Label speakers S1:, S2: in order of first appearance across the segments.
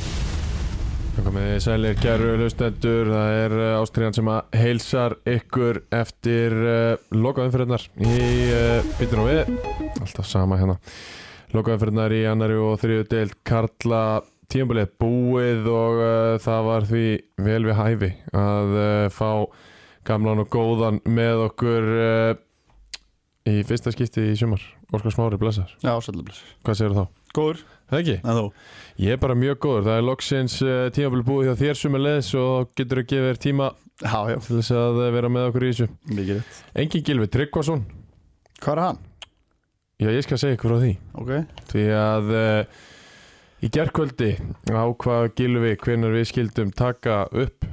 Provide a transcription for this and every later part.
S1: Það komið þið sælir kæru hlustendur, það er eh, Ástríðan sem að heilsar ykkur eftir uh, lokaumfyrirnar í uh, bitur og við, alltaf sama hérna. Lokaumfyrirnar í annari og þriðu deild Karla tímabilið búið og uh, það var því vel við hæfi að uh, fá gamlan og góðan með okkur uh, í fyrsta skipti í sumar. Óskar Smári blessar,
S2: Já, sælublus
S1: hvað segir þá?
S2: Góður,
S1: Það ekki?
S2: en þú?
S1: Ég er bara mjög góður, það er loksins uh, tímabili búið hjá þér sumið leðis og getur að gefa þér tíma
S2: Já, já,
S1: til þess að eh, vera með okkur í þessu
S2: mikið rétt
S1: Engin Gilvi Tryggvason,
S2: Hvað er hann?
S1: já ég skal segja ykkur frá því
S2: Ok
S1: því að uh, í gerkvöldi ákvað Gilvi hvenar við skildum taka upp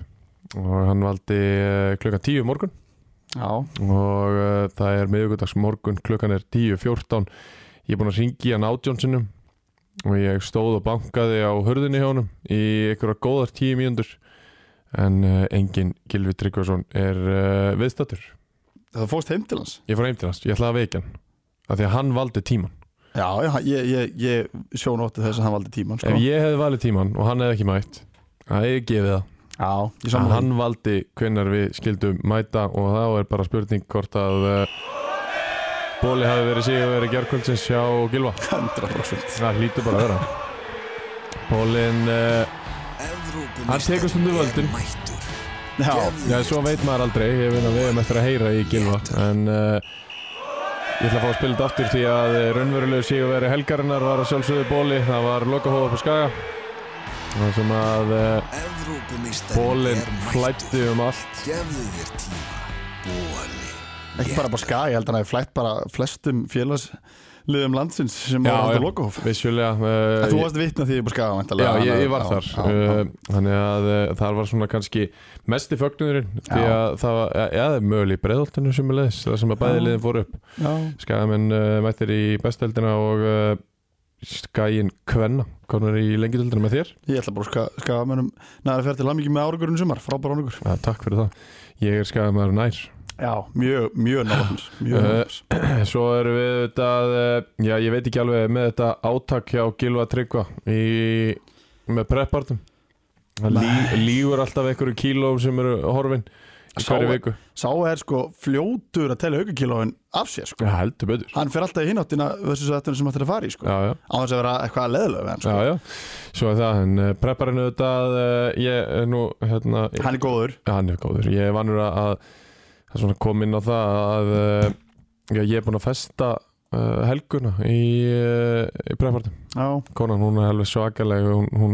S1: og hann valdi uh, klukkan 10 morgun
S2: Já,
S1: og uh, það er miðugudags morgun klukkan er 10.14 ég er búinn að ringi hann átjónsinnum og ég stóð og bankaði á hurðinni hjá honum í einhverja góðar 10 mínútur en uh, engin Gilvi Tryggvason er uh, viðstattur
S2: það fórst heim til hans
S1: ég fór heim til hans, ég ætlaði að veikja hann af því að hann valdi tíman
S2: Já, já, ég, ég, ég sjónótti þess að hann valdi tíman sko.
S1: ef ég hefði valið tíman og hann hefði ekki mætt það hefði gefið það
S2: Já,
S1: Saman.
S2: ég saman hann
S1: hann valdi hvenar við skildum mæta og þá er bara spurning hvort að uh, Bóli hafi verið síðan verið gerkvöldsins hjá Gilva
S2: 100%
S1: Það hlýtur bara að vera Pólinn, uh, Hann tekur stundum völdin.
S2: Já,
S1: já svo veit maður aldrei Ég veit að við erum eftir að heyra í Gilva En uh, ég ætla að fá að spila þetta aftur Því að eh, raunverulegu sigurveri helgarinnar var að sjálfsögðu Bóli Það var lokahóð upp á Skaga Það sem að uh, Bólinn flætti um allt
S3: Gefðu þér tíma, bóli
S2: ekki bara bara skag, ég held að hann hefði flætt bara flestum félagsliðum landsins sem
S1: Já,
S2: var
S1: já.
S2: alltaf lokahóf
S1: Vissulega
S2: En
S1: uh,
S2: Þú varst vitna því ég bara skaga
S1: Já,
S2: mæntalega
S1: ég, ég var þar Uh, Þannig að uh, þar var svona kannski mesti fögnuðurinn Því
S2: Já.
S1: að það var, eh, já, já, mögulega í breiðoltinu sem er leðis Það sem að
S2: Já.
S1: bæði liðin fór upp
S2: Já,
S1: Skagamenn uh, mættir í besteldina og uh, Skaginn Kvenna konar í lengjutöldina með þér
S2: ég ætla bara að ska- skaga mönum Næra fer til hann mikið með árugurinn sumar, frábæra árugur
S1: ja, Takk fyrir það, ég er Skagamenn nær
S2: Já, mjög, mjög nálægt Mjög
S1: Eh,
S2: nálægt
S1: Svo erum við auðvitað, uh, já ég veit ekki alveg með þetta átak hjá Gilva Tryggva í, með preppartum Það lí- Lígur alltaf einhverju kílóum sem eru horfin í
S2: Sá-
S1: hverju viku
S2: Sá er sko fljótur að telja aukakilóin af sér sko.
S1: Já, heldur betur
S2: Hann fer alltaf í hináttina versus þetta sem ættir að fara í sko.
S1: Já, já
S2: á þess að vera eitthvað að leðlega við hann sko.
S1: Já, já, svo er það, en uh, prepparinn auðvitað, uh, ég er nú, hérna,
S2: Hann er góður
S1: Já, hann er góður. Ég er vanur að, að, að svona koma inn á það að uh, já, ég er búinn að festa uh, helguna í, uh, í preppartum.
S2: Já,
S1: Konan, hún er alveg svakaleg, hún, hún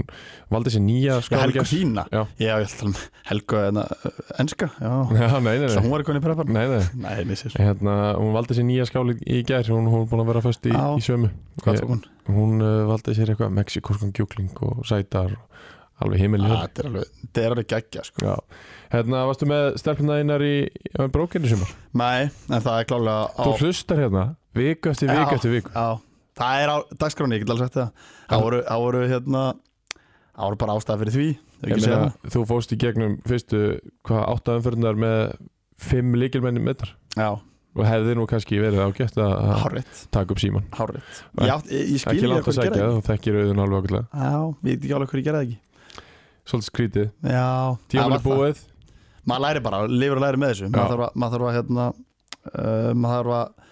S1: valdi sér nýja
S2: já
S1: skálegjær.
S2: Helgu Hína
S1: Já.
S2: Já, ég ætla um Helgu en, uh, enska Já,
S1: Já, nei, nei,
S2: svo
S1: nei.
S2: hún var eitthvað í prepar
S1: nei, nei.
S2: Nei, missir
S1: Hérna, hún valdi sér nýja skál í- í gær, hún, hún er búin að vera föst í,
S2: Já.
S1: í sömu.
S2: Hvað tók hún?
S1: Hún uh, valdi sér eitthvað mexikoskan kjúkling og sætar og alveg
S2: Ah,
S1: himilið.
S2: Þetta er alveg, þetta er alveg geggja sko.
S1: Já. Hérna, varstu með stelpunæðinar í, í brókinu sumar?
S2: Nei, en það er klálega á
S1: Þú hlustar hérna, viku eftir viku
S2: Já.
S1: eftir viku.
S2: Já, það er á dagskráni, ég get alveg sagt það Það voru, það voru hérna Það voru bara ástæða fyrir því ef
S1: Ég
S2: ekki segja
S1: meina,
S2: það.
S1: þú fóst í gegnum fyrstu hvað átta umfyrndar með fimm líkilmenni með þar
S2: Já,
S1: og hefði nú kannski verið ágætt að að
S2: hárrétt,
S1: taka upp síman
S2: hárrétt
S1: Nei.
S2: Ég, átt- ég, ég skil
S1: ekki
S2: ég
S1: langt
S2: hvað
S1: að
S2: ég gera
S1: sækja
S2: það
S1: það, þú þekkir auðun alveg okkurlega
S2: Já, ég veit ekki alveg hvað ég gera það ekki
S1: svolítið skrítið,
S2: Já, það var
S1: tímafélag
S2: það.
S1: búið
S2: maður læri bara, lifur að læri með þessu maður þarf, að, maður þarf að hérna uh, maður þarf að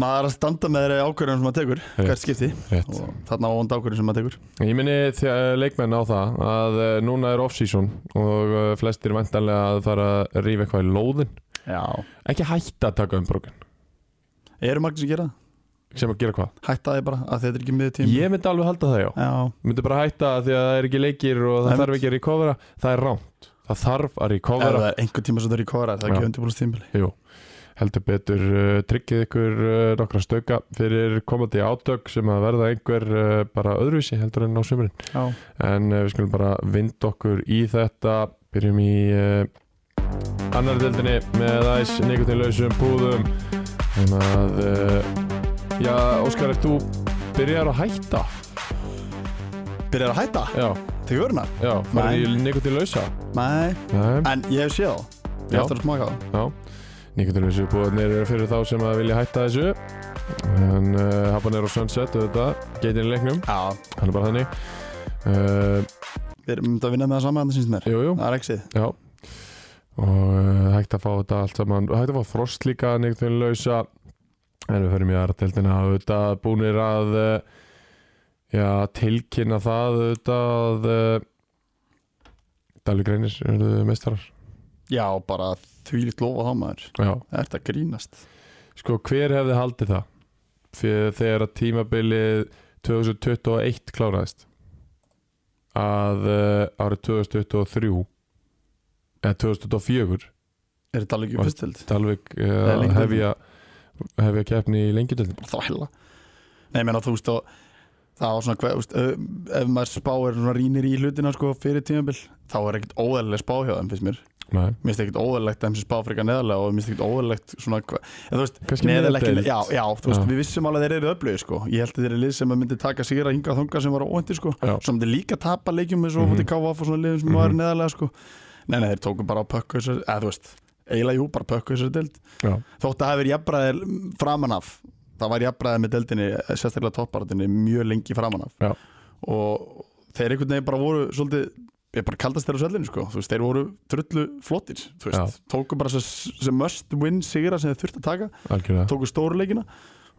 S2: maður þarf að standa með þeirri ákvörðunum sem maður tekur hvert skipti
S1: rétt.
S2: og þarna ávond ákvörðun sem maður tekur
S1: ég minni þjá- leikmenn á það að eh, núna er off-season og eh, flestir vantanlega að fara að rífa eitthvað í lóðin
S2: já
S1: ekki hætta að taka um brókin
S2: eru margir sem gera það?
S1: sem að gera hvað,
S2: hætta þið bara að þetta er ekki miður tími
S1: ég myndi alveg halda það já
S2: já,
S1: myndi bara hætta því að það er ekki leikir og það
S2: Einmitt.
S1: þarf ekki að recovera, það er ránt það þarf að
S2: ef
S1: recovera
S2: það er einhver tíma sem það er í kóra það er
S1: Já.
S2: ekki undirbúlust tímbili
S1: Jú, heldur betur uh, tryggið ykkur uh, nokkra stöka fyrir komandi átök sem að verða einhver uh, bara öðruvísi heldur en á eh, sömurinn
S2: já,
S1: en uh, við skulum bara vinda okkur í þetta byrjum í uh, eh, annar deildinni með æs, nikotinlausum púðum þannig að uh, já, Óskar, ert þú byrjar að hætta?
S2: Byrjar að hætta
S1: Já,
S2: til jörna?
S1: já, farið
S2: Nei.
S1: í nikotinlausa
S2: Nei,
S1: Nei,
S2: en ég hef séð þá Ég
S1: Já.
S2: hef eftir að smaka þá
S1: já Nikotinlausu púðarnir eru fyrir þá sem að vilja hætta þessu en uh, Habanero Sunset, auðvitað, geitin í leiknum
S2: Já,
S1: hann er bara þannig uh,
S2: við erum myndið að vinna með það saman, það syns mér
S1: Jú, jú,
S2: Það er ekki sið
S1: Já og uh, hægt að fá þetta allt saman hægt að fá frost líka neiktun lausa en við förum í aðra deildina auðvitað búnir að uh, já, tilkynna það auðvitað að uh, Dalí Greinir eru meistarar
S2: Já, bara þvílíkt lofa þá maður
S1: já.
S2: Það ert að grínast
S1: sko hver hefði haldið það fyrir þegar að tímabilið 2021 kláraðist að uh, árið 2023 eða 2024
S2: Er þetta alveg
S1: Var-
S2: ekki fyrstöld?
S1: Dalvik
S2: Nei,
S1: uh,
S2: lengjudeildin.
S1: hefja, hefja keppni í lengjudöldin
S2: Bara þvæla Nei, ég meina þú veist og Það var svona, hver, þú veist, ö- ef maður spáir svona rínir í hlutina sko fyrir tímabil þá er ekkert óðæðileg spá hjá þeim, finnst mér
S1: Nei,
S2: Mér finnst ekkert óðalegt að þeim sem spá frekar neðarlega og mér finnst ekkert óðalegt svona hva- eða þú veist,
S1: Kannski
S2: neðarlega ekki-
S1: miðdeild.
S2: já, já, þú veist,
S1: Já.
S2: við vissum alveg að þeir eru öflugir sko ég held að þeir eru lið sem að myndi taka sigra hinga þunga sem var óvænti sko
S1: Já.
S2: sem myndi líka tapa leikjum eins og
S1: Mhm.
S2: hótti KVF og svona liðum sem
S1: Mhm.
S2: var neðarlega sko nei, nei, þeir tóku bara á pökku þessar eða þú veist, eiginlega jú, bara pökku þessar deild
S1: já,
S2: þótt að það hefur jafnbræðir framan af það var jafnbræðið með deildinni sérstaklega topparatinni mjög lengi framan af
S1: Já.
S2: og þeir einhvern veginn bara voru svolítið ég bara kaldast þeirra á svellinu sko þú veist, þeir voru trullu flottir þú veist, tóku bara þessi þessi must win sigra sem þeir þurftu að taka,
S1: algjörlega
S2: tóku stóruleikina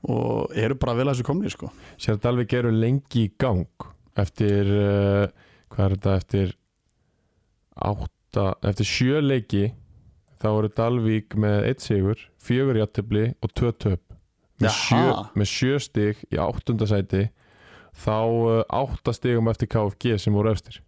S2: og eru bara vel að þessu komni sko
S1: Sér að Dalvik eru lengi í gang eftir uh, hvað er þetta eftir átta, eftir sjö leiki þá eru Dalvík með eitt sigur fjögur játtöfli og tvö töp með,
S2: Jaha.
S1: sjö, með sjö stig í áttunda sæti þá uh, átta stigum eftir KFG sem voru eftir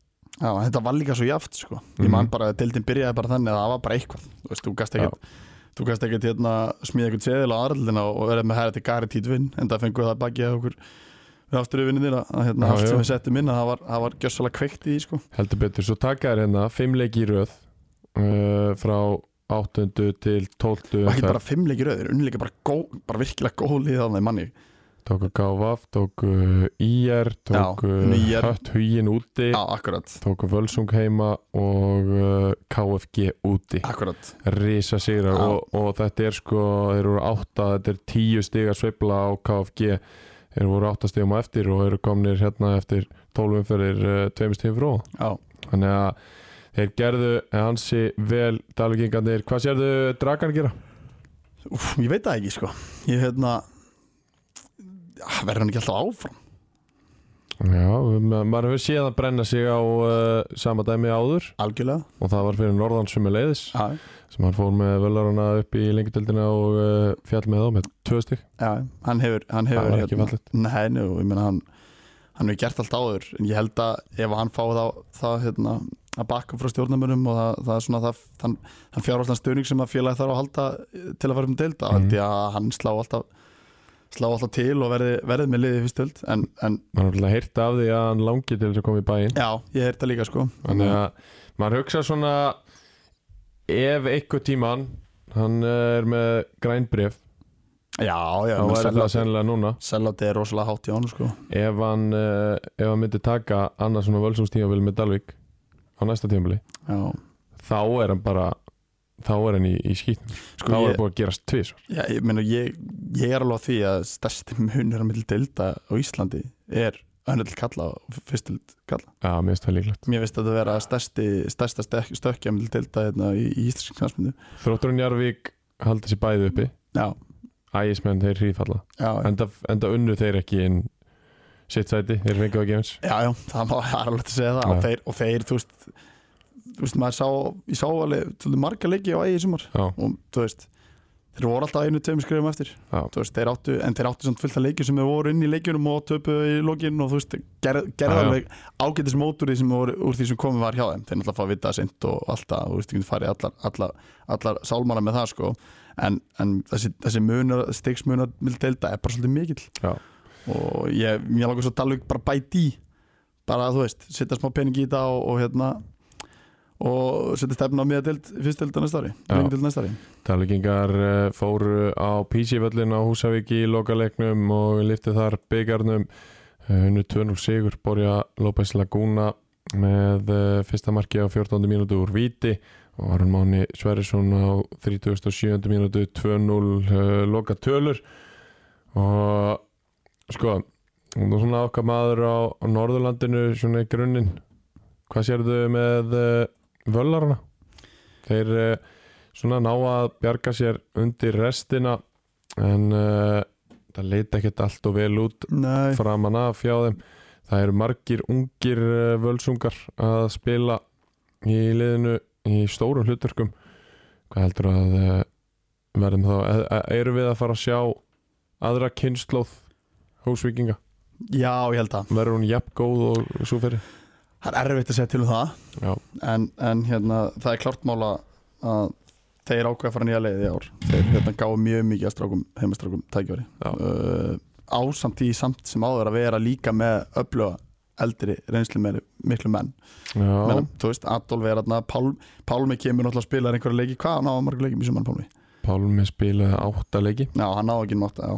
S2: Já, en þetta var líka svo jaft sko
S1: Mhm.
S2: Ég man bara að deildin byrjaði bara þannig að það var bara eitthvað Þú veist, þú gast ekkert Þú gast ekkert hérna smíða eitthvað seðil á aðraldina og verið með herri til gari títvinn en það fengur það bakið á okkur við ásturuvinni þín að hérna,
S1: Já,
S2: allt
S1: já.
S2: sem við settum inn að það var, það var gjössalega kveikt í því sko
S1: heldur betur, svo taka þér hérna fimm leiki í röð uh, frá 8. til 12.
S2: og ekki bara fimm leikir auður, unnleika bara, gó, bara virkilega góð lið þannig manni
S1: tóku KVF, tóku IR tóku
S2: unnu IR.
S1: Hött Hugin úti
S2: Já, akkurat,
S1: tóku Völsung heima og uh, KFG úti
S2: akkurat
S1: risa sigrar
S2: Já.
S1: og, og þetta er sko þeir eru átta, þetta er tíu stiga sveifla á KFG þeir voru átta stigum á eftir og eru komnir hérna eftir 12 umferðir uh, tveimur stigum frá
S2: Já,
S1: þannig að þeir gerðu hansi vel dalvíkingarnir hvað sérðu dragan gera?
S2: Úf, ég veit það ekki sko Ég hérna Já, verður hann ekki alltaf áfram
S1: Já, ma- maður hefur séð að brenna sig á uh, sama dæmi áður
S2: Algjörlega
S1: og það var fyrir norðan sumu leiðis
S2: Já,
S1: sem hann fór með völaruna upp í lengjadöldina og uh, fjall með þá með tvö stygg
S2: Já, hann hefur, hann hefur hérna-
S1: það var ekki fallið
S2: Nei, nú, ég meina hann hann hefur gert allt áður, en ég held að ef hann fá þá, þá hérna að bakka frá stjórnarmönnum og það, það er svona það, þann, þann fjárhaldan stöðning sem að félagi þarf að halda eh, til að fara um deilda,
S1: Mhm.
S2: mm. því að hann slá alltaf slá alltaf til og verði, verði með liðið fyrst höld, en, en
S1: maður er alltaf heyrt af því að hann langi til þess að koma í bæinn
S2: já, ég heyrði það líka sko
S1: þannig að maður hugsa svona ef eitthvað tíman hann eh, er með grænbrif
S2: Já, já,
S1: þá er það sennilega núna
S2: Sellátti er rosalega hátt í honum sko
S1: ef hann, uh, ef hann myndi taka annars svona völsumstímabil með Dalvik á næsta tímabili
S2: Já,
S1: þá er hann bara þá er hann í, í skýtnum þá
S2: sko
S1: er
S2: ég,
S1: búið að gerast tvís
S2: já, ég, meina, ég, ég er alveg á því að stærsti munur á milli deilda á Íslandi er önnöld kalla og fyrst höld kalla
S1: já, mér finnst það líklegt
S2: Mér finnst þetta að vera stærsti, stærsta stökk, stökkjamil delta hérna í, í íslensk knastmyndu.
S1: Þrótturinn Jarvík haldi sér bæði uppi
S2: Já,
S1: ægismenn þeir hrífalla
S2: já, já,
S1: enda, enda unnu þeir ekki inn sitt sæti, þeir fengið ekki eins
S2: já, já, það má það er alveg að segja það.
S1: Já.
S2: Og þeir, og þeir, þú veist, þú veist, maður sá, ég sá alveg, þú veist, marga leiki á ægi í sumar.
S1: já,
S2: Og, þú veist, þeir voru alltaf einu tveim skrifum eftir.
S1: Já.
S2: Þú veist, þeir áttu, en þeir áttu samt fullt af leiki sem þeir voru inn í leikjunum og töpuðu í lokinn og þú veist, ger, gerðu
S1: Já, já.
S2: alveg ágætis mót úr því sem voru, úr því sem komið var hjá þeim. Þeir náttúrulega fá að vita það seint og alltaf, þú veist, ekki farið allar, allar allar sálmana með það sko en, en þessi, þessi munar, stigsmunar milli deilda er bara svolítið mikill
S1: Já.
S2: og ég, ég langar svo Dalvik bara bæti í bara þú veist, setja smá pening í þetta og, og hérna og setja stefna á miðadild fyrst dild næsta ári,
S1: Já.
S2: lengdild næsta ári
S1: Dalvíkingar eh, fóru á PC-völlin á Húsavík í lokaleiknum og lyfti þar Eh, byggarnum hunnu 2-0 sigur Borja López Laguna með eh, fyrsta marki á 14. mínútu úr Víti og Aron Máni Sverrisson á 37. mínútu 2-0 eh, loka tölur og sko hún er svona okkar maður á, á Norðurlandinu svona í grunninn hvað sérðu með eh, völlarana? Þeir eh, svona ná að bjarga sér undir restina en uh, það leita ekkert allt og vel út
S2: Nei,
S1: framan af hjá þeim það eru margir ungir uh, völsungar að spila í liðinu í stórum hlutverkum hvað heldur að uh, verðum þá, e- e- erum við að fara að sjá aðra kynnslóð húsvíkinga,
S2: já, ég held að
S1: verður hún jafn góð og svo fyrir?
S2: það er erfitt að segja til um það
S1: Já,
S2: en, en hérna, það er klart mála að þeir ákveða að fara nýja leið í ár þeir hérna, gáðu mjög mikið að strákum heimastrákum tækjafari
S1: Já.
S2: uh, ásamt því samt sem áður að vera líka með öfluga eldri reynslu með miklu menn
S1: já,
S2: Menna, þú veist, Adolf er aðna Pál, Pálmi kemur náttúrulega að spila einhverja leiki hvað hann á að marga leiki mjög sem hann Pálmi
S1: Pálmi spilaði áttaleiki
S2: Já, hann á ekki mátt já.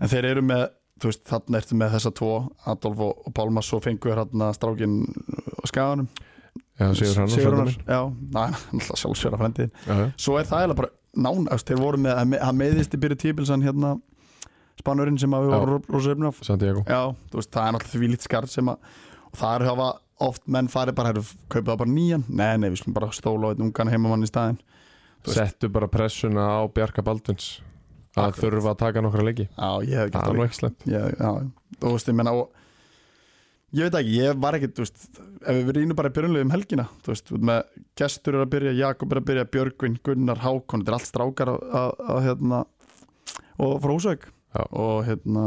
S2: En þeir eru með, þú veist, þarna ertu með þessa tvo Adolf og, og Pálma, svo fengur hérna strákin á skaganum
S1: Já, Sigur Hannar, frændi minn.
S2: Já, næ, alltaf sjálfsverða frendiðin
S1: Já, já.
S2: Svo er það eiginlega bara nánast Þeir voru með, hann- hann meðist í byrju típilsan hérna Spanurinn sem að við
S1: Já.
S2: vorum rosa öfnum af
S1: Santiago
S2: Já, þú veist, það er náttúrulega því lít skarð sem að og það er hafa oft menn farið bara herru, kaupið það bara nýjan, nei, nei, við skulum bara stóla á einn ungan heimamann í staðinn Þú veist-
S1: settu bara pressuna á Bjarka Baldvins að
S2: Akkurat.
S1: þurfa að taka nokkra leiki
S2: Já, ég hef ekki
S1: það er nú ekki slemt
S2: já, já, þú veist, ég menna og ég veit ekki, ég var ekki, þú veist ef við rínum bara í byrjunlega um helgina þú veist, þú veist, með gestur er að byrja, Jakob er að byrja Björgvin, Gunnar, Hákon, þetta er allt strákar að, að, að hérna og frá Húsavík
S1: Já.
S2: og hérna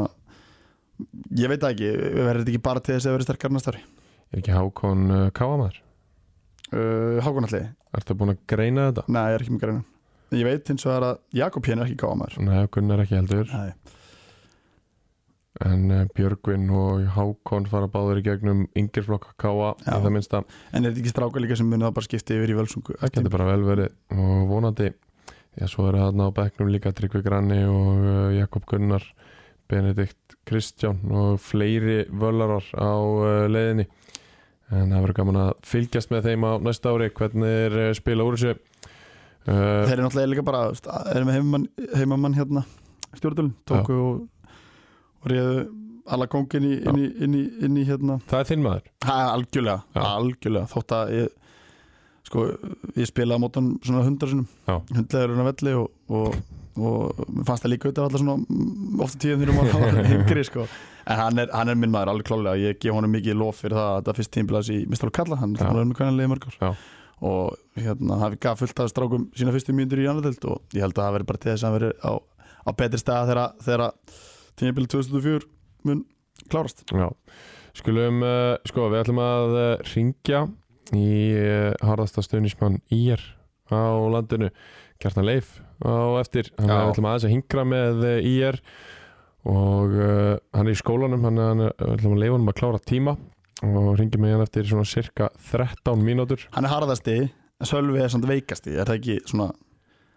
S2: ég veit það ekki, við verðum þetta ekki bara til þess að verða sterkar næstari
S1: er ekki Hákon uh, Káamæður
S2: uh, Hákon allir,
S1: ertu búin að greina þetta?
S2: nei, ég er ekki með greinan ég veit eins og það er að Jakob hérna er ekki káa maður
S1: Nei, Gunnar ekki heldur
S2: nei,
S1: en uh, Björgvin og Hákon fara báður í gegnum yngirflokka Káa í
S2: Já.
S1: það minnsta
S2: en er þetta ekki strákar líka sem munið að bara skipta yfir í völsungu
S1: það getur bara vel verið og vonandi já, svo eru þarna á bekknum líka Tryggvi Granni og uh, Jakob Gunnar Benedikt Kristján og fleiri völarar á uh, leiðinni en það verður gaman að fylgjast með þeim á næsta ári hvernig er uh, spila úr þessu uh,
S2: Þeir eru náttúrulega líka bara þú veist, að- erum með heimamann, heimamann hérna stjórnvölin, tóku og, og réðu alla kóngin í, inn, í, inn, í, inn í hérna
S1: það er þinn maður
S2: ha, algjörlega,
S1: Já.
S2: algjörlega þótt að ég sko, ég spilaði á mótan svona hundra sinum
S1: Já.
S2: hundlegaður en að velli og, og, og mér fannst það líka út af alla svona mm, ofta tíðum þegar maður var yngri sko. en hann er, hann er minn maður alveg klálega ég gef honum mikið lof fyrir það að þetta fyrst tímbilaðs í Mr. Kalla, hann
S1: Já.
S2: er með hvernig leiði mörgur
S1: Já.
S2: og hérna hann gaf fullt af strákum sína fyrstu mínútur í annardild og ég held að það veri bara til þess að hann veri á, á betri staða þegar, þegar tímbilið 2004 mun klárast
S1: já. skulum, uh, sko við ætlum að uh, ringja í uh, harðasta stuðnismann ír á landinu Kjartan Leif á eftir hann
S2: Já.
S1: er ætlum aðeins að hingra með eh, IR og uh, hann er í skólanum hann er hann er- ætlum að leifa hann að klára tíma og ringi með hann eftir svona cirka 13 mínútur
S2: hann er harðasti en Sölvi er samt veikasti er það ekki svona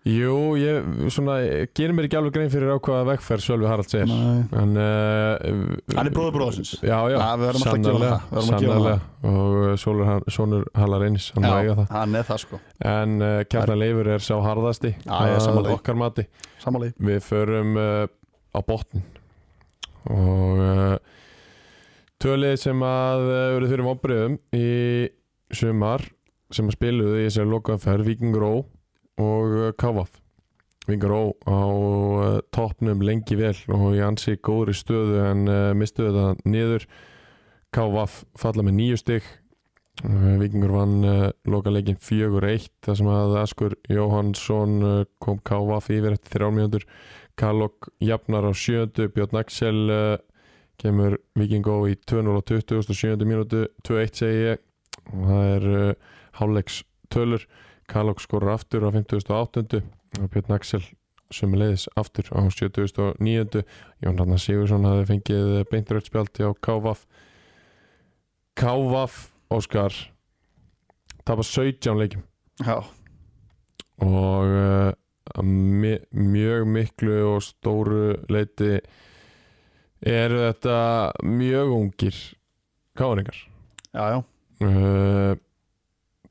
S1: Jú, ég svona ég gerir mér ekki alveg grein fyrir á hvaða vegferð Sölvi Haralds er
S2: Nei.
S1: en, uh,
S2: hann er bróður bróðsins
S1: Já, já,
S2: Ja, við verðum alltaf að gefa
S1: sannarlega,
S2: það, við verðum að gefa
S1: sannarlega. og uh, Sólur, Han- Sónur Hallar eins hann má eiga það
S2: hann er það sko
S1: En uh, Kjartan Leifur er sá harðasti
S2: Já, ég er sammála því.
S1: okkar mati
S2: samanlega
S1: Við förum uh, á botnin og uh, tölið sem að uh, verið fyrir vombriðum í sumar sem að spiluðu í þessari lokaðanferð Víkingur Ó og uh, Kávaf Víkingur Ó á uh, toppnum lengi vel og í ansi góðri stöðu en uh, mistuðu þetta niður Kávaf falla með nýju stygg Uh, Víkingur vann uh, lokaleikin 4-1 þar sem að Askur Jóhansson uh, kom KVF yfir eftir þrjár mínútur Kallok jafnar á sjöndu Björn Axel uh, kemur Víkingó í 220 og sjöndu mínútu 2-1 segi ég og það er uh, hálfleiks tölur Kallok skorur aftur á 58 og Björn Axel sömuleiðis aftur á 79 Jón Rannar Sigursson hafði fengið eh, beintröldspjaldi á KVF KVF Óskar tapa 17 leikjum
S2: já,
S1: og uh, að mi mjög miklu og stóru leiti eru þetta mjög ungir káringar
S2: já, já,
S1: uh,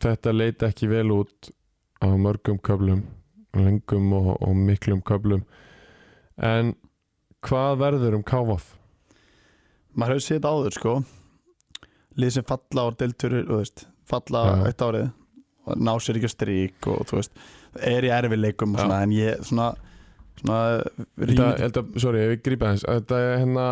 S1: þetta leit ekki vel út á mörgum köflum lengum og, og miklum köflum en hvað verður um KVF?
S2: maður hefur séð þetta áður sko lið sem falla á deltúri og þú veist, falla
S1: Já.
S2: eitt árið og ná sér ekki að strík og þú veist, er í erfileikum og
S1: Já.
S2: svona, en ég svona, svona
S1: Þetta,
S2: rýmd,
S1: held að, sorry, ef ég grípa þess þetta er hérna,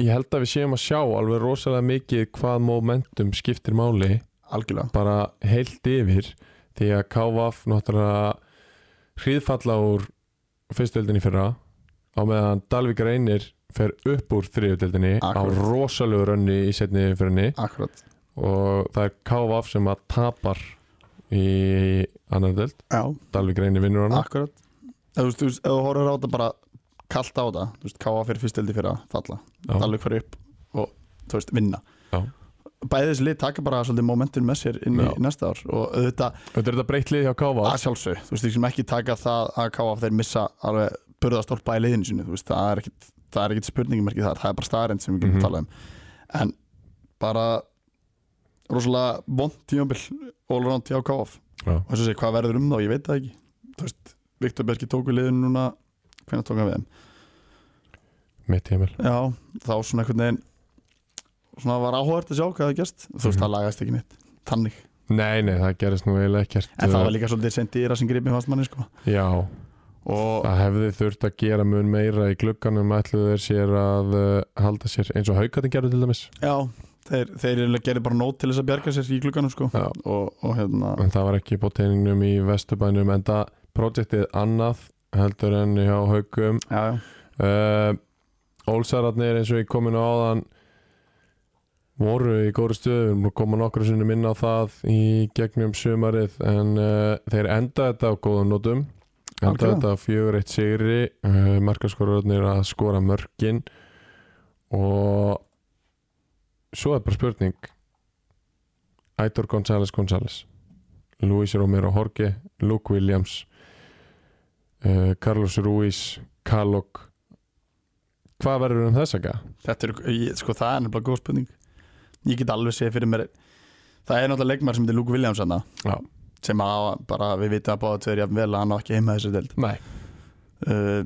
S1: ég held að við séum að sjá alveg rosalega mikið hvað momentum skiptir máli
S2: algjörlega
S1: bara heilt yfir því að KVF náttúrulega hríðfalla úr fyrstöldinni fyrra á meðan Dalvik Reynir fer upp úr þriðjöldinni á
S2: Akkurat.
S1: rosalegu rönni í setni fyrirni
S2: akkurat,
S1: og það er KVF sem að tapar í annar döld
S2: já,
S1: Dalvik Reynir vinnur hana
S2: akkurat eða þú veist, þú veist, ef þú horfir á þetta bara kallt á þetta, þú veist, káa fyrir fyrsteldi fyrir að falla
S1: Já.
S2: Dalvik fari upp og þú veist, vinna
S1: Já.
S2: bæði þessi lið taka bara svolítið momentum með sér inn í
S1: Já.
S2: næsta ár og auðvitað
S1: Þetta er þetta breytt lið hjá
S2: að
S1: KVF
S2: sjálfsög, þú veist, við sem ekki taka það að káa þeir missa alveg burðastólpa í liðinu sinu, þú veist, það er ekkit það er ekkit spurningum ekki þar, það er bara staðarind sem við getum
S1: Mhm.
S2: talað um, en bara rosalega vond tímabil all around hjá káa og
S1: Já.
S2: þess að segja, hvað verður um þá, ég veit það ekki þú veist, Viktor Bergi tók við liðinu núna hvernig tók hann við þeim
S1: mitt heimil
S2: Já, þá svona einhvern veginn svona var áhugavert að sjá hvað það gerst þú veist,
S1: Mhm.
S2: það lagast ekki neitt, tannig
S1: Nei, nei, það gerist nú eiginlega ekkert Eh,
S2: en það var líka svolítið sent dýra sem gripið fast manni sko.
S1: Já,
S2: og
S1: Það hefði þurft að gera mun meira í glugganum ætluðu þeir sér að uh, halda sér eins og haugkattin gerðu til dæmis
S2: já, þeir, þeir gerir bara nót til þess að bjarga sér í glugganum sko.
S1: Já.
S2: og, og hérna
S1: en það var ekki på teiningnum í vesturbænum en það projektið annað heldur enn hjá haugum
S2: já, já,
S1: uh, Ólsararnir eins og ég komin á áðan voru í góru stöðum og koma nokkru sinnum inn á það í gegnum sumarið en uh, þeir enda þetta á góðum notum enda
S2: Algjörlega.
S1: þetta á fjögur eitt sigri uh, markaskorarnir að skora mörkin og svo er bara spurning Aitor González González Luis Romero Jorge Luke Williams uh, Carlos Ruiz Kalok hvað verður um þess að
S2: þetta er, ég, sko, það er nefnilega góð spurning ég get alveg séð fyrir mér það er náttúrulega leikmar sem þetta er Luke Williams hana,
S1: Já.
S2: sem að bara, við vitum að báða tveir jafn vel að hann á ekki heima þessu deild
S1: Nei
S2: uh,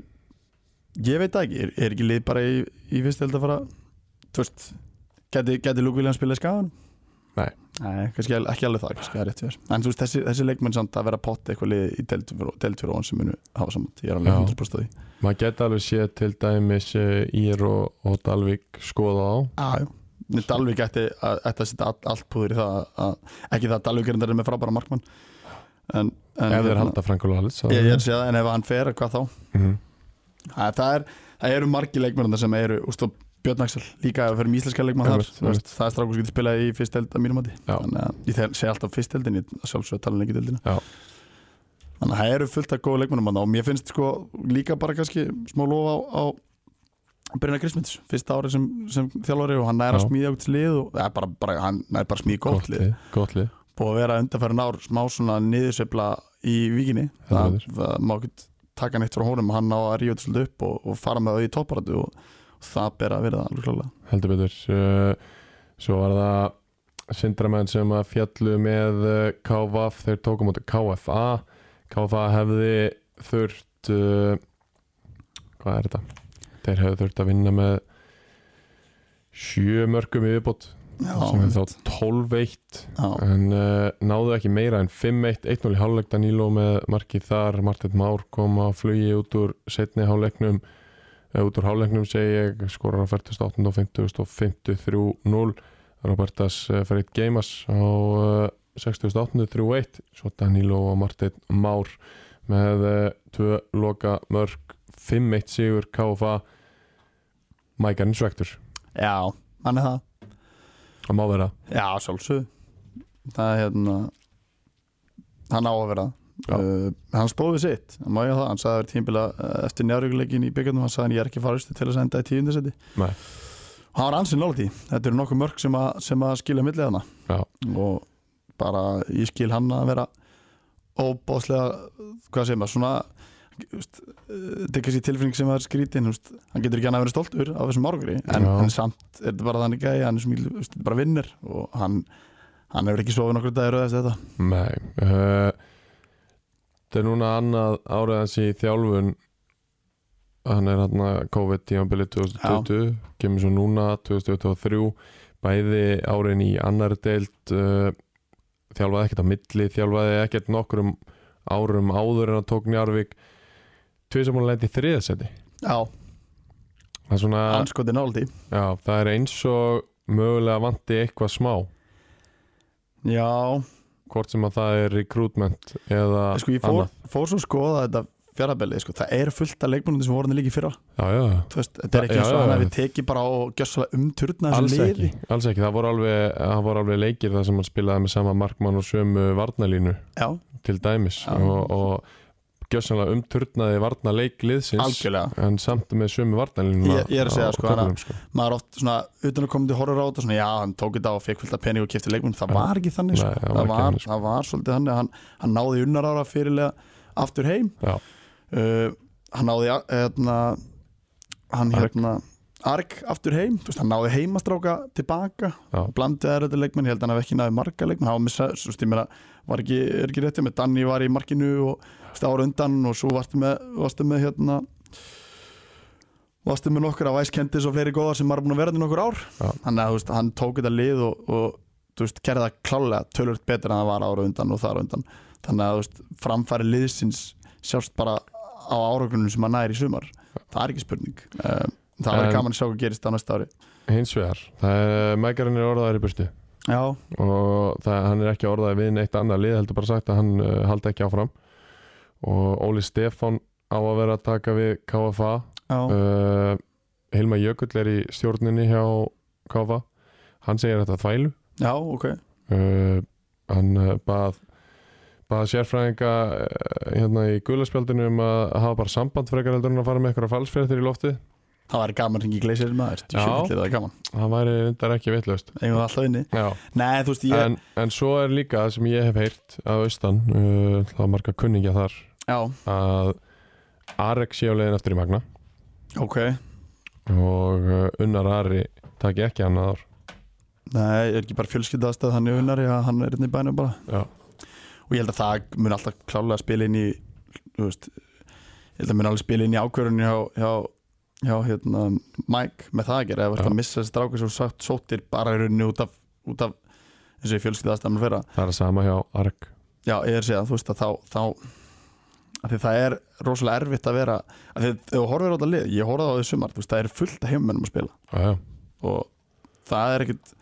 S2: ég veit það ekki, er, er ekki lið bara í, í fyrst held að fara þú veist, geti, geti Luke Williams spilað skáðan?
S1: Nei.
S2: Nei, kannski al- ekki alveg það, kannski það er rétt fyrir en þú veist, þessi, þessi leikmenn samt að vera að potta eitthvað lið í deltur og hann sem munu hafa saman, ég er alveg
S1: Já.
S2: 100% á því
S1: maður geta alveg séð til dæmis eh, Ír og, og Dalvik skoða á
S2: aðjó Nei, Dalvik ætti að, ætti að setja all- allt púður í það að, að, ekki það að Dalvik er endur með frábæra markmann en, en
S1: ef
S2: hérna,
S1: þeir halda Frank Lallits
S2: ég, ég er að segja það, en ef hann fer, hvað þá
S1: Mhm.
S2: Æ, það, er, það eru margi leikmennir sem eru úst, og Björn Axel líka ef við fyrir íslenska leikmann þar
S1: Einmitt,
S2: þú veist, það er strákur sem getur spilað í fyrst held að mínum mati
S1: Já.
S2: þannig að ég tel- segi alltaf fyrst heldin ég sjálfsög tala um ekki heldina
S1: Já.
S2: þannig að það eru fullt af góða leikmennum þarna og mér finnst sko líka bara kannski smá lofa á, á Brynna Grismits, fyrsta ári sem, sem þjálfari og hann næra
S1: Já.
S2: að smíða út lið og, eða, bara, bara, hann næra bara að smíða gott lið
S1: gott lið
S2: búið að vera undanfærin ár smá svona niðursveifla í vikinni það,
S1: Heldur
S2: það má ekki taka neitt frá honum hann á að ríða þetta svolítið upp og, og fara með það í topparatu og, og það ber að vera það alveg klálega
S1: heldur betur Eh, svo var það syndramenn sem að fjallu með eh, KVF, þeir tókum út KFA KFA hefði þurft eh, hvað er þetta? Þeir hefði þurft að vinna með sjö mörgum í viðbót sem er
S2: já,
S1: þá 12-1
S2: já,
S1: en uh, náðu ekki meira en 5-1 1-0 í hálfleik Danilo með markið þar Martin Már kom á flugi út úr setni hálfleiknum eh, út úr hálfleiknum segi ég skorar á 48 og 50 og 53-0 Robertas eh, Freyt Geimas á uh, 68 3-1 svo Danilo og Martin Már með uh, tvö loka mörg 5-1 sigur KFA Mike Arnins Rektor
S2: já, hann er það
S1: það má vera
S2: já, sjálfsög það er hérna hann á að vera það.
S1: Já.
S2: uh, hann stóð við sitt, hann má ég það hann sagði að vera tímbila uh, eftir njárugleikin í byggjarnum hann sagði hann ég er ekki faristu til að senda í tíundasetti
S1: Nei.
S2: og hann var ansinn nála því þetta eru nokkuð mörg sem að, sem að skilja millið hana
S1: Já.
S2: og bara ég skil hann að vera óbóðslega, hvað segir maður, svona uh, þetta er kannski tilfinning sem er skrítin úst, hann getur ekki hann að vera stoltur á þessum árgri en,
S1: Já.
S2: en samt er þetta bara þannig gæði hann er sem ég, úst, bara vinnur og hann, hann hefur ekki sofið nokkur dagir auðvitað þetta
S1: Nei uh, Það er núna annað árið hans í þjálfun Hann er hann að COVID tímabili 2020 Kemur svo núna 2023 Bæði árin í annar deild uh, Þjálfaði ekkert á milli Þjálfaði ekkert nokkrum árum áður en að tók Njarvík Tvísamónu lendi þriðasetti
S2: Já,
S1: Það er svona
S2: hann skoti náldi
S1: já, Það er eins og mögulega vanti eitthvað smá
S2: Já,
S1: Hvort sem að það er recruitment eða
S2: sko ég fór, fór svo að skoða þetta fjarlabelið, sko, það er fullt af leikmennum sem voru hann líki fyrra,
S1: annað Já, já, já
S2: þú veist, þetta er ekki
S1: Já,
S2: eins og
S1: já,
S2: hann
S1: já.
S2: hefði tekið bara og gjössalega umturna
S1: alls
S2: þessu liði
S1: ekki, alls ekki, það voru alveg, það voru alveg leikir þar sem hann spilaði með sama markmann og sömu varnalínu
S2: Já,
S1: til dæmis
S2: Já.
S1: og, og gjössanlega umturnaði varnaleik liðsins
S2: algjörlega
S1: en samt með sömu varnalínu
S2: Ég- ég er að segja, sko, hana-
S1: sko.
S2: maður oft svona utan að koma til horror á þetta svona já, hann tók þetta og fekk fullt af pening og kipti leikmenn það
S1: Já.
S2: var ekki þannig, sko.
S1: Nei, það
S2: það,
S1: var
S2: var
S1: ekki þannig, sko.
S2: það var svolítið þannig að hann, hann náði unnarára fyrirlega aftur heim
S1: Já.
S2: uh, hann náði hérna, hann
S1: Arg.
S2: hérna arg aftur heim, þú veist, hann náði heimastráka tilbaka,
S1: Já.
S2: blandið er þetta leikmenn ég held að hann hafi ekki náði marga leikmenn, hann var missa þú veist, ég meina, var ekki, er ekki rétti með Danni var í markinu og þú veist, ára undan og svo varstu með, varstu með hérna varstu með nokkur af æskendis og fleiri góðar sem maður er búin að vera til nokkur ár
S1: Já.
S2: þannig að þú veist, hann tók þetta lið og, og þú veist, gerði það klálega tölvöld betur en það var ára undan og þar á undan þannig að þú veist, framfæri liðsins sjást bara á áragrunum sem hann næri í sumar það er ekki spurning Eh, það
S1: En-
S2: verður gaman að sjá hvað gerist á næsta ári
S1: hins vegar, það er, mækarinn er orðaðar í burtu
S2: já,
S1: og það, hann er ekki orðaði við neitt annað lið heldur bara sagt að hann uh, haldi ekki áfram og Óli Stefán á að vera að taka við KFA
S2: já,
S1: uh, Hilma Jökull er í stjórninni hjá KFA hann segir þetta þvælu
S2: já, ok
S1: uh, hann uh, bað bað sérfræðinga uh, hérna í gulaspjaldinu um að hafa bara samband frekar heldur en að fara með einhverja falsfréttir í lofti
S2: það væri gaman að hringi í gleisir maður,
S1: Já.
S2: sjöfnillir það er gaman
S1: það væri undar ekki vitlaust
S2: eigum við alltaf inni
S1: Já,
S2: nei, þú veist, ég,
S1: en, en svo er líka það sem ég hef heyrt að austan uh, það marga kunningja þar
S2: já,
S1: að Arek sé á leiðin eftir í Magna
S2: ok
S1: og uh, Unnar Ari taki ekki annað ár
S2: nei, er ekki bara fjölskyldaðastæð hann í unnari að hann er inn í bænum bara
S1: Já,
S2: og ég held að það mun alltaf klálega spila inn í þú veist, ég held að mun alveg spila inn í ákvörðunni hjá, hjá, hjá hérna, Mike með það að gera, ef
S1: Já.
S2: þetta missa þessi strákur sem sagt sóttir bara í rauninni út af, út af eins og ég fjölskylda aðstæðan að vera
S1: það er að sama hjá Arek
S2: já, ég er að segja, þú veist að þá, þá að því það er rosalega erfitt að vera að því að þú horfir á þetta lið, ég horfði á því sumar þú veist, það er fullt af heimumennum að spila
S1: Já, já,
S2: og það er ekkit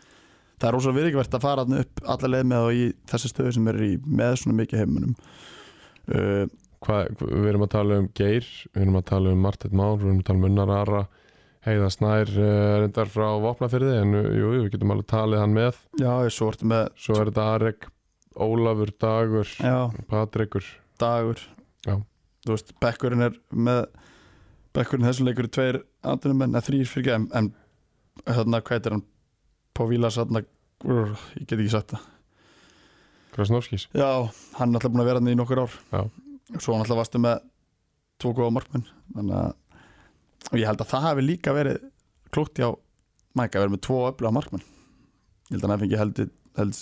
S2: það er rosalega virðingvert að fara þarna upp alla leið með og í þessi stöðu sem er í með svona mikið heimumennum uh,
S1: hvað, við erum að tala um Geir, við erum að tala um Martin Már, við erum að tala um Unnar Ara, Heiða Snær uh, reyndar frá Vopnafyrði en uh, jú, jú, við getum alveg talið hann með
S2: Já, ég svo ertu með
S1: svo er þetta Arek, Ólafur, Dagur
S2: já,
S1: Patrikur,
S2: dagur
S1: Já.
S2: Þú veist, bekkurinn er með bekkurinn þessum leikur er tveir aðdunum en þrýr fyrir ekki en, en hérna, hvað heitir hann Póvílas, hérna, grr, ég get ekki sagt það
S1: Krasnovskis
S2: Já, hann er alltaf búin að vera hann í nokkur ár
S1: Já.
S2: Svo hann alltaf varstu með tvo góða markmenn þannig að og ég held að það hafi líka verið klútt hjá Mike að vera með tvo öfluga markmenn ég held að hann hafi ekki heldur held,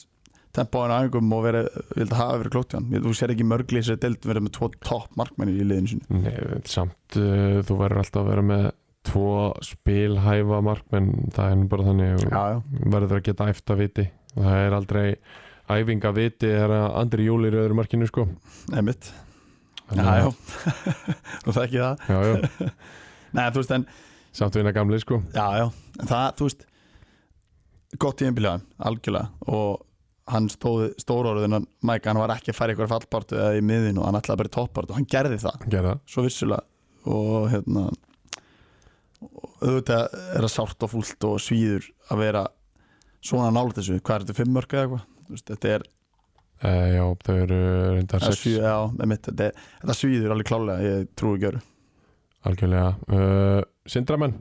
S2: tempóinu æfingum og verið ég held að hafa verið klútt hjá hann Ég- þú sér ekki mörgli sér deild verið með tvo topp markmenn í liðinu sinu
S1: Nei, samt uh, þú verður alltaf að vera með tvo spilhæfa markmenn, það er nú bara þannig og
S2: já,
S1: verður að geta æft að viti það er aldrei æfinga viti þegar að Andri Júli er í öðru markinu sko
S2: emitt já,
S1: Þannig
S2: já,
S1: að-
S2: þú þekki það
S1: já, já,
S2: Nei, þú veist, en
S1: samt vinna gamli sko
S2: Já, já, en það, þú veist gott í einbíljaðan, algjörlega og hann stóði stóróruðin hann, Mike, hann var ekki að fara í eitthvað fallbartu eða í miðin og hann ætlaði bara í toppbartu og hann gerði það,
S1: gerða,
S2: svo vissulega og hérna og auðvitað er það sárt og fúlt og svíður að vera svona nála þessu, hvað er þetta, fimm mörg eða eitthvað Þú veist, þetta er,
S1: e, já, þau eru reyndar
S2: eða
S1: sex
S2: svíður, já, einmitt, þetta, er- þetta svíður alveg klálega, ég trúi ekki öru
S1: Algjörlega uh, Sindramenn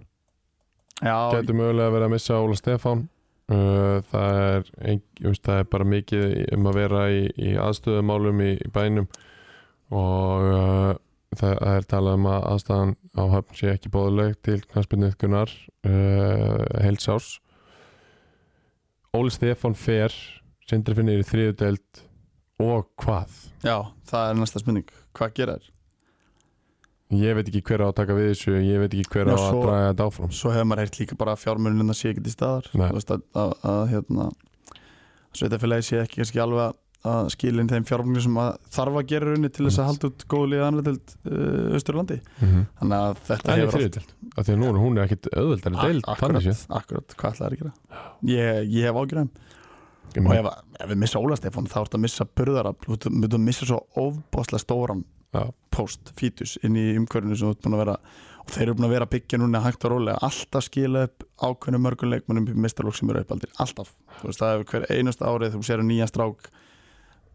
S2: Já,
S1: gætu mögulega verið að missa Óla Stefán Uh, það, er, ein, veist, það er bara mikið um að vera í, í aðstöðumálum í, í bænum og uh, það, það er talað um að aðstæðan á höfn sé ekki bóðuleg til knarspinnuðkunar uh, heilsás Óli Stefán Fer Sindri Finnir í þriðudeld og hvað?
S2: Já, það er næsta spurning Hvað gera þér?
S1: Ég veit ekki hver á að taka við þessu ég veit ekki hver á
S2: Já,
S1: að
S2: svo-
S1: draga þetta áfram sko.
S2: Svo hefur maður heyrt líka bara að fjármunina sé ekki til staðar
S1: Nei.
S2: Þú veist, að, að, að hérna Sveitafélagi sé ekki kannski alveg að- að skilin þeim fjármunir sem að þarf að gera í rauninni til þess að halda út góðu liða annar til uh, Östurlandi
S1: mm -hmm.
S2: Þannig að þetta
S1: Það er í
S2: hefur allt-
S1: þriðudeld af því að nú er hún ekkit auðveldari
S2: Ak-
S1: deild
S2: akkurat,
S1: þannig sé
S2: akkurat, hvað ætlaði að gera ég, ég hef ágjörðum
S1: Ég
S2: og
S1: meina-
S2: ef, ef við missa Óla Stefán þá ertu að missa burðara þú ert- þú ert að missa svo ofbáslega stóran
S1: Já.
S2: post, fítus inn í umhverfinu sem þú ert búin að vera og þeir eru búin að vera að byggja núna hægt og rólega alltaf skila upp ákveðnum mörgum leikmannum í mistarlók sem eru uppaldir, alltaf þú veist það er hver einast árið þú sér nýja strák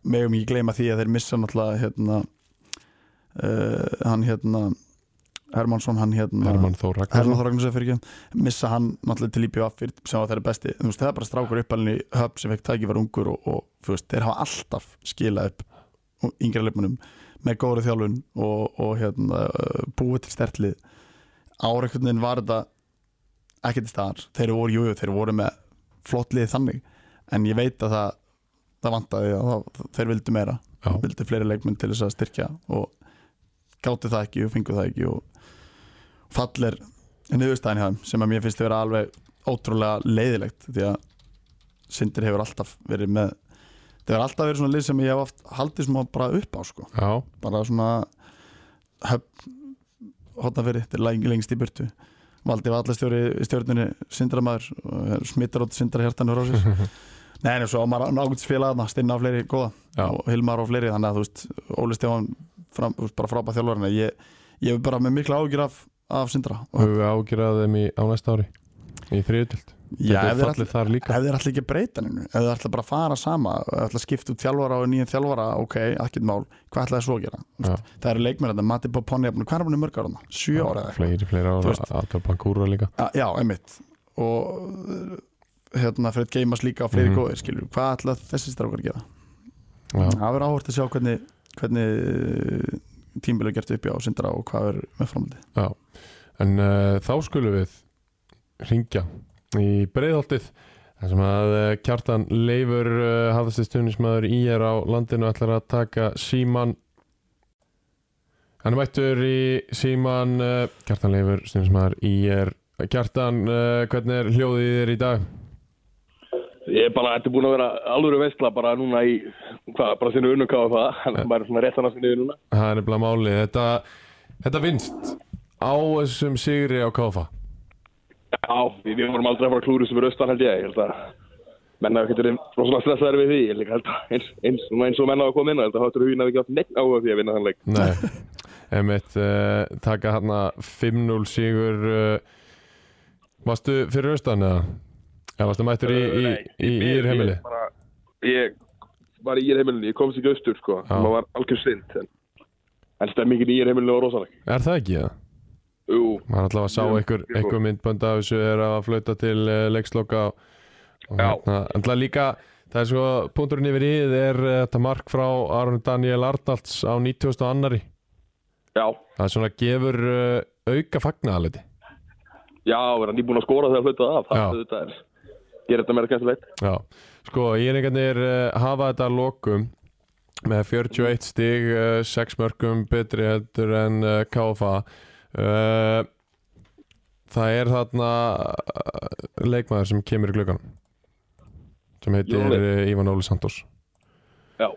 S2: megum ekki gleyma því að þeir missa náttúrulega hérna, uh, hann hérna Hermansson, hann hérna
S1: Hermann Þór
S2: Herman
S1: Ragnarsson
S2: Þoragnarsson fyrir ekki missa hann náttúrulega til Líbjó Affir sem var þeirra besti, þú veist það er bara strákur uppalinn í höfn sem fekk tæki var ungur og, og þú veist, þeir hafa alltaf skilað upp yngri leikmannum með góðri þjálfun og, og hérna, uh, búið til stertlið áreikunin var þetta ekki til staðar, þeir voru jújú, þeir voru með flott lið þannig en ég veit að það, það vantaði að það, þeir vildu meira
S1: Já.
S2: vildi fleiri leikmenn til þess að styrkja og gátti það ekki og fengu það ekki og fallir niðurstæðin hjá þeim sem að mér finnst að vera alveg ótrúlega leiðilegt því að Sindri hefur alltaf verið með það hefur alltaf verið svona lið sem ég hef oft haldið sem bara upp á sko
S1: Já,
S2: bara svona höfn hotna fyrir, þetta er leng, lengst í burtu valdi var allar stjóri í stjórnunni sindramæður, smittar átt sindrahjartanur á sér Nei, en svo á maður nákvæmt félagarna, stinna á fleiri góða
S1: já,
S2: og Hilmar og fleiri þannig að þú veist, Óli Stefán fram, þú veist, bara frábæð þjálfarinn ég, ég er bara með mikla ágjur af, af Sindra og
S1: höfum við ágjörað þeim í, á næsta ári í þriðutild
S2: já,
S1: þetta
S2: ef
S1: er fallið
S2: þeir ætla-
S1: þar
S2: ef
S1: líka
S2: þeir ætla ekki að breyta hennu ef þeir ætla bara að fara sama ef þeir ætla að skipta út þjálfara og nýjan þjálfara ok, ekkert mál, hvað ætla þeir svo að gera
S1: Já.
S2: það eru leikmennir, Matti Boponi hvað er hann mörg ára? 7 ára? eða eitthvað?
S1: fleiri, fleiri
S2: Þú
S1: ára,
S2: veist-
S1: Ator Bankúra líka
S2: Ja, já, einmitt og uh, hérna, Fred Geimas líka og fleiri
S1: Mhm.
S2: góðir, skilur, hvað ætla þessi strákar að gera?
S1: já,
S2: Það verður áhvert að sjá hvernig, hvernig tímbil er gert upp á Sindra og hvað er með framhaldi
S1: já. en uh, þá skulum við ringja í breiðholtið þar sem að uh, kjartan leifur uh, hafðasti stundismæður í er á landinu ætlar að taka síman hann er mættur í síman uh, kjartan leifur stundismæður í er kjartan, uh, hvernig er hljóðið í þér í dag?
S4: Ég er bara, þetta er búin að vera alvöru veistla bara núna í, hvað, bara þínu unnukáðu það, hann er bara svona rétt hann að sinni núna.
S1: Það er nefnilega málið Þetta, þetta vinst á þessum sigri á KFA
S4: Já, við, við vorum aldrei að fara að klúru sem er austan held ég, ég held að menn hafa getur rosalega stressaðir við því, ég líka held að eins, eins, svona eins og menn hafa komið inn, á, ég held að hátur hugin hafi ekki átt neitt áhuga á því að vinna þann leik.
S1: Nei, emitt uh, taka hann 5-0 sigur uh, Varstu fyrir austan eða? Eða varstu mættur í, í, í, í ír heimili?
S4: Ég, bara, ég var í ír heimilinu, ég komst ekki austur sko,
S1: Já.
S4: það var algjör synd, en, en stemmingin í ír heimilinu var rosaleg.
S1: Er það ekki það?
S4: Jú,
S1: Maður allavega sá
S4: Jú,
S1: einhver,
S4: jú.
S1: einhver myndbönd af þessu er að flauta til uh, leiksloka og og
S4: Já.
S1: hérna, alltaf líka það er svo, punkturinn yfir íð er uh, þetta mark frá Aron Daniel Arnalds á 90. annari
S4: já,
S1: það er svona gefur uh, auka fagnaðaliti
S4: já, verða nýbúin að skora þegar hlutað af,
S1: Já.
S4: það þetta er, gerir þetta meira skemmtilegt.
S1: Já, sko, íringarnir uh, hafa þetta að lokum með 41 stig, uh, 6 mörgum betri heldur en uh, KFA uh, Það er þarna uh, leikmaður sem kemur í glugganum sem heitir
S4: Jón
S1: uh, Ívan Óli Santos
S4: Já.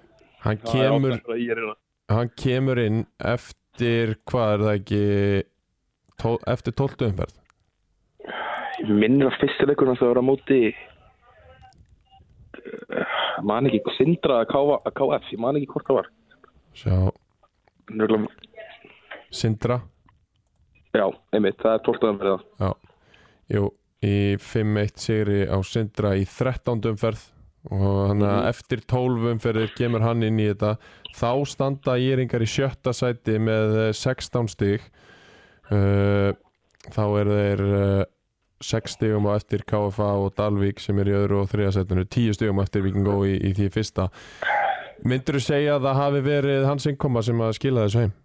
S1: Hann
S4: Það er
S1: kemur,
S4: ástæðan fyrir að ég er hérna.
S1: hann kemur inn eftir, hvað er það ekki tó, eftir 12 umferð
S4: Ég minnir að fyrsti leikurinn hans að vera á móti Eh, man ekki Sindra að KF, að KF, ég man ekki hvort það var
S1: Sjá,
S4: Nörglum,
S1: Sindra
S4: Já, einmitt, það er hérna. 12. umferð það.
S1: Já, jú, í 5-1 sigri á Sindra í 13. umferð og hann að eftir 12 umferðir kemur hann inn í þetta þá standa Íringar í sjötta sæti með eh, 16 stig Eh, þá er þeir eh, 6 stigum á eftir KFA og Dalvík sem er í öðru og þriða setinu 10 stigum á eftir Víkingó í, í því fyrsta myndirðu segja að það hafi verið hans innkoma sem að skila þessu heim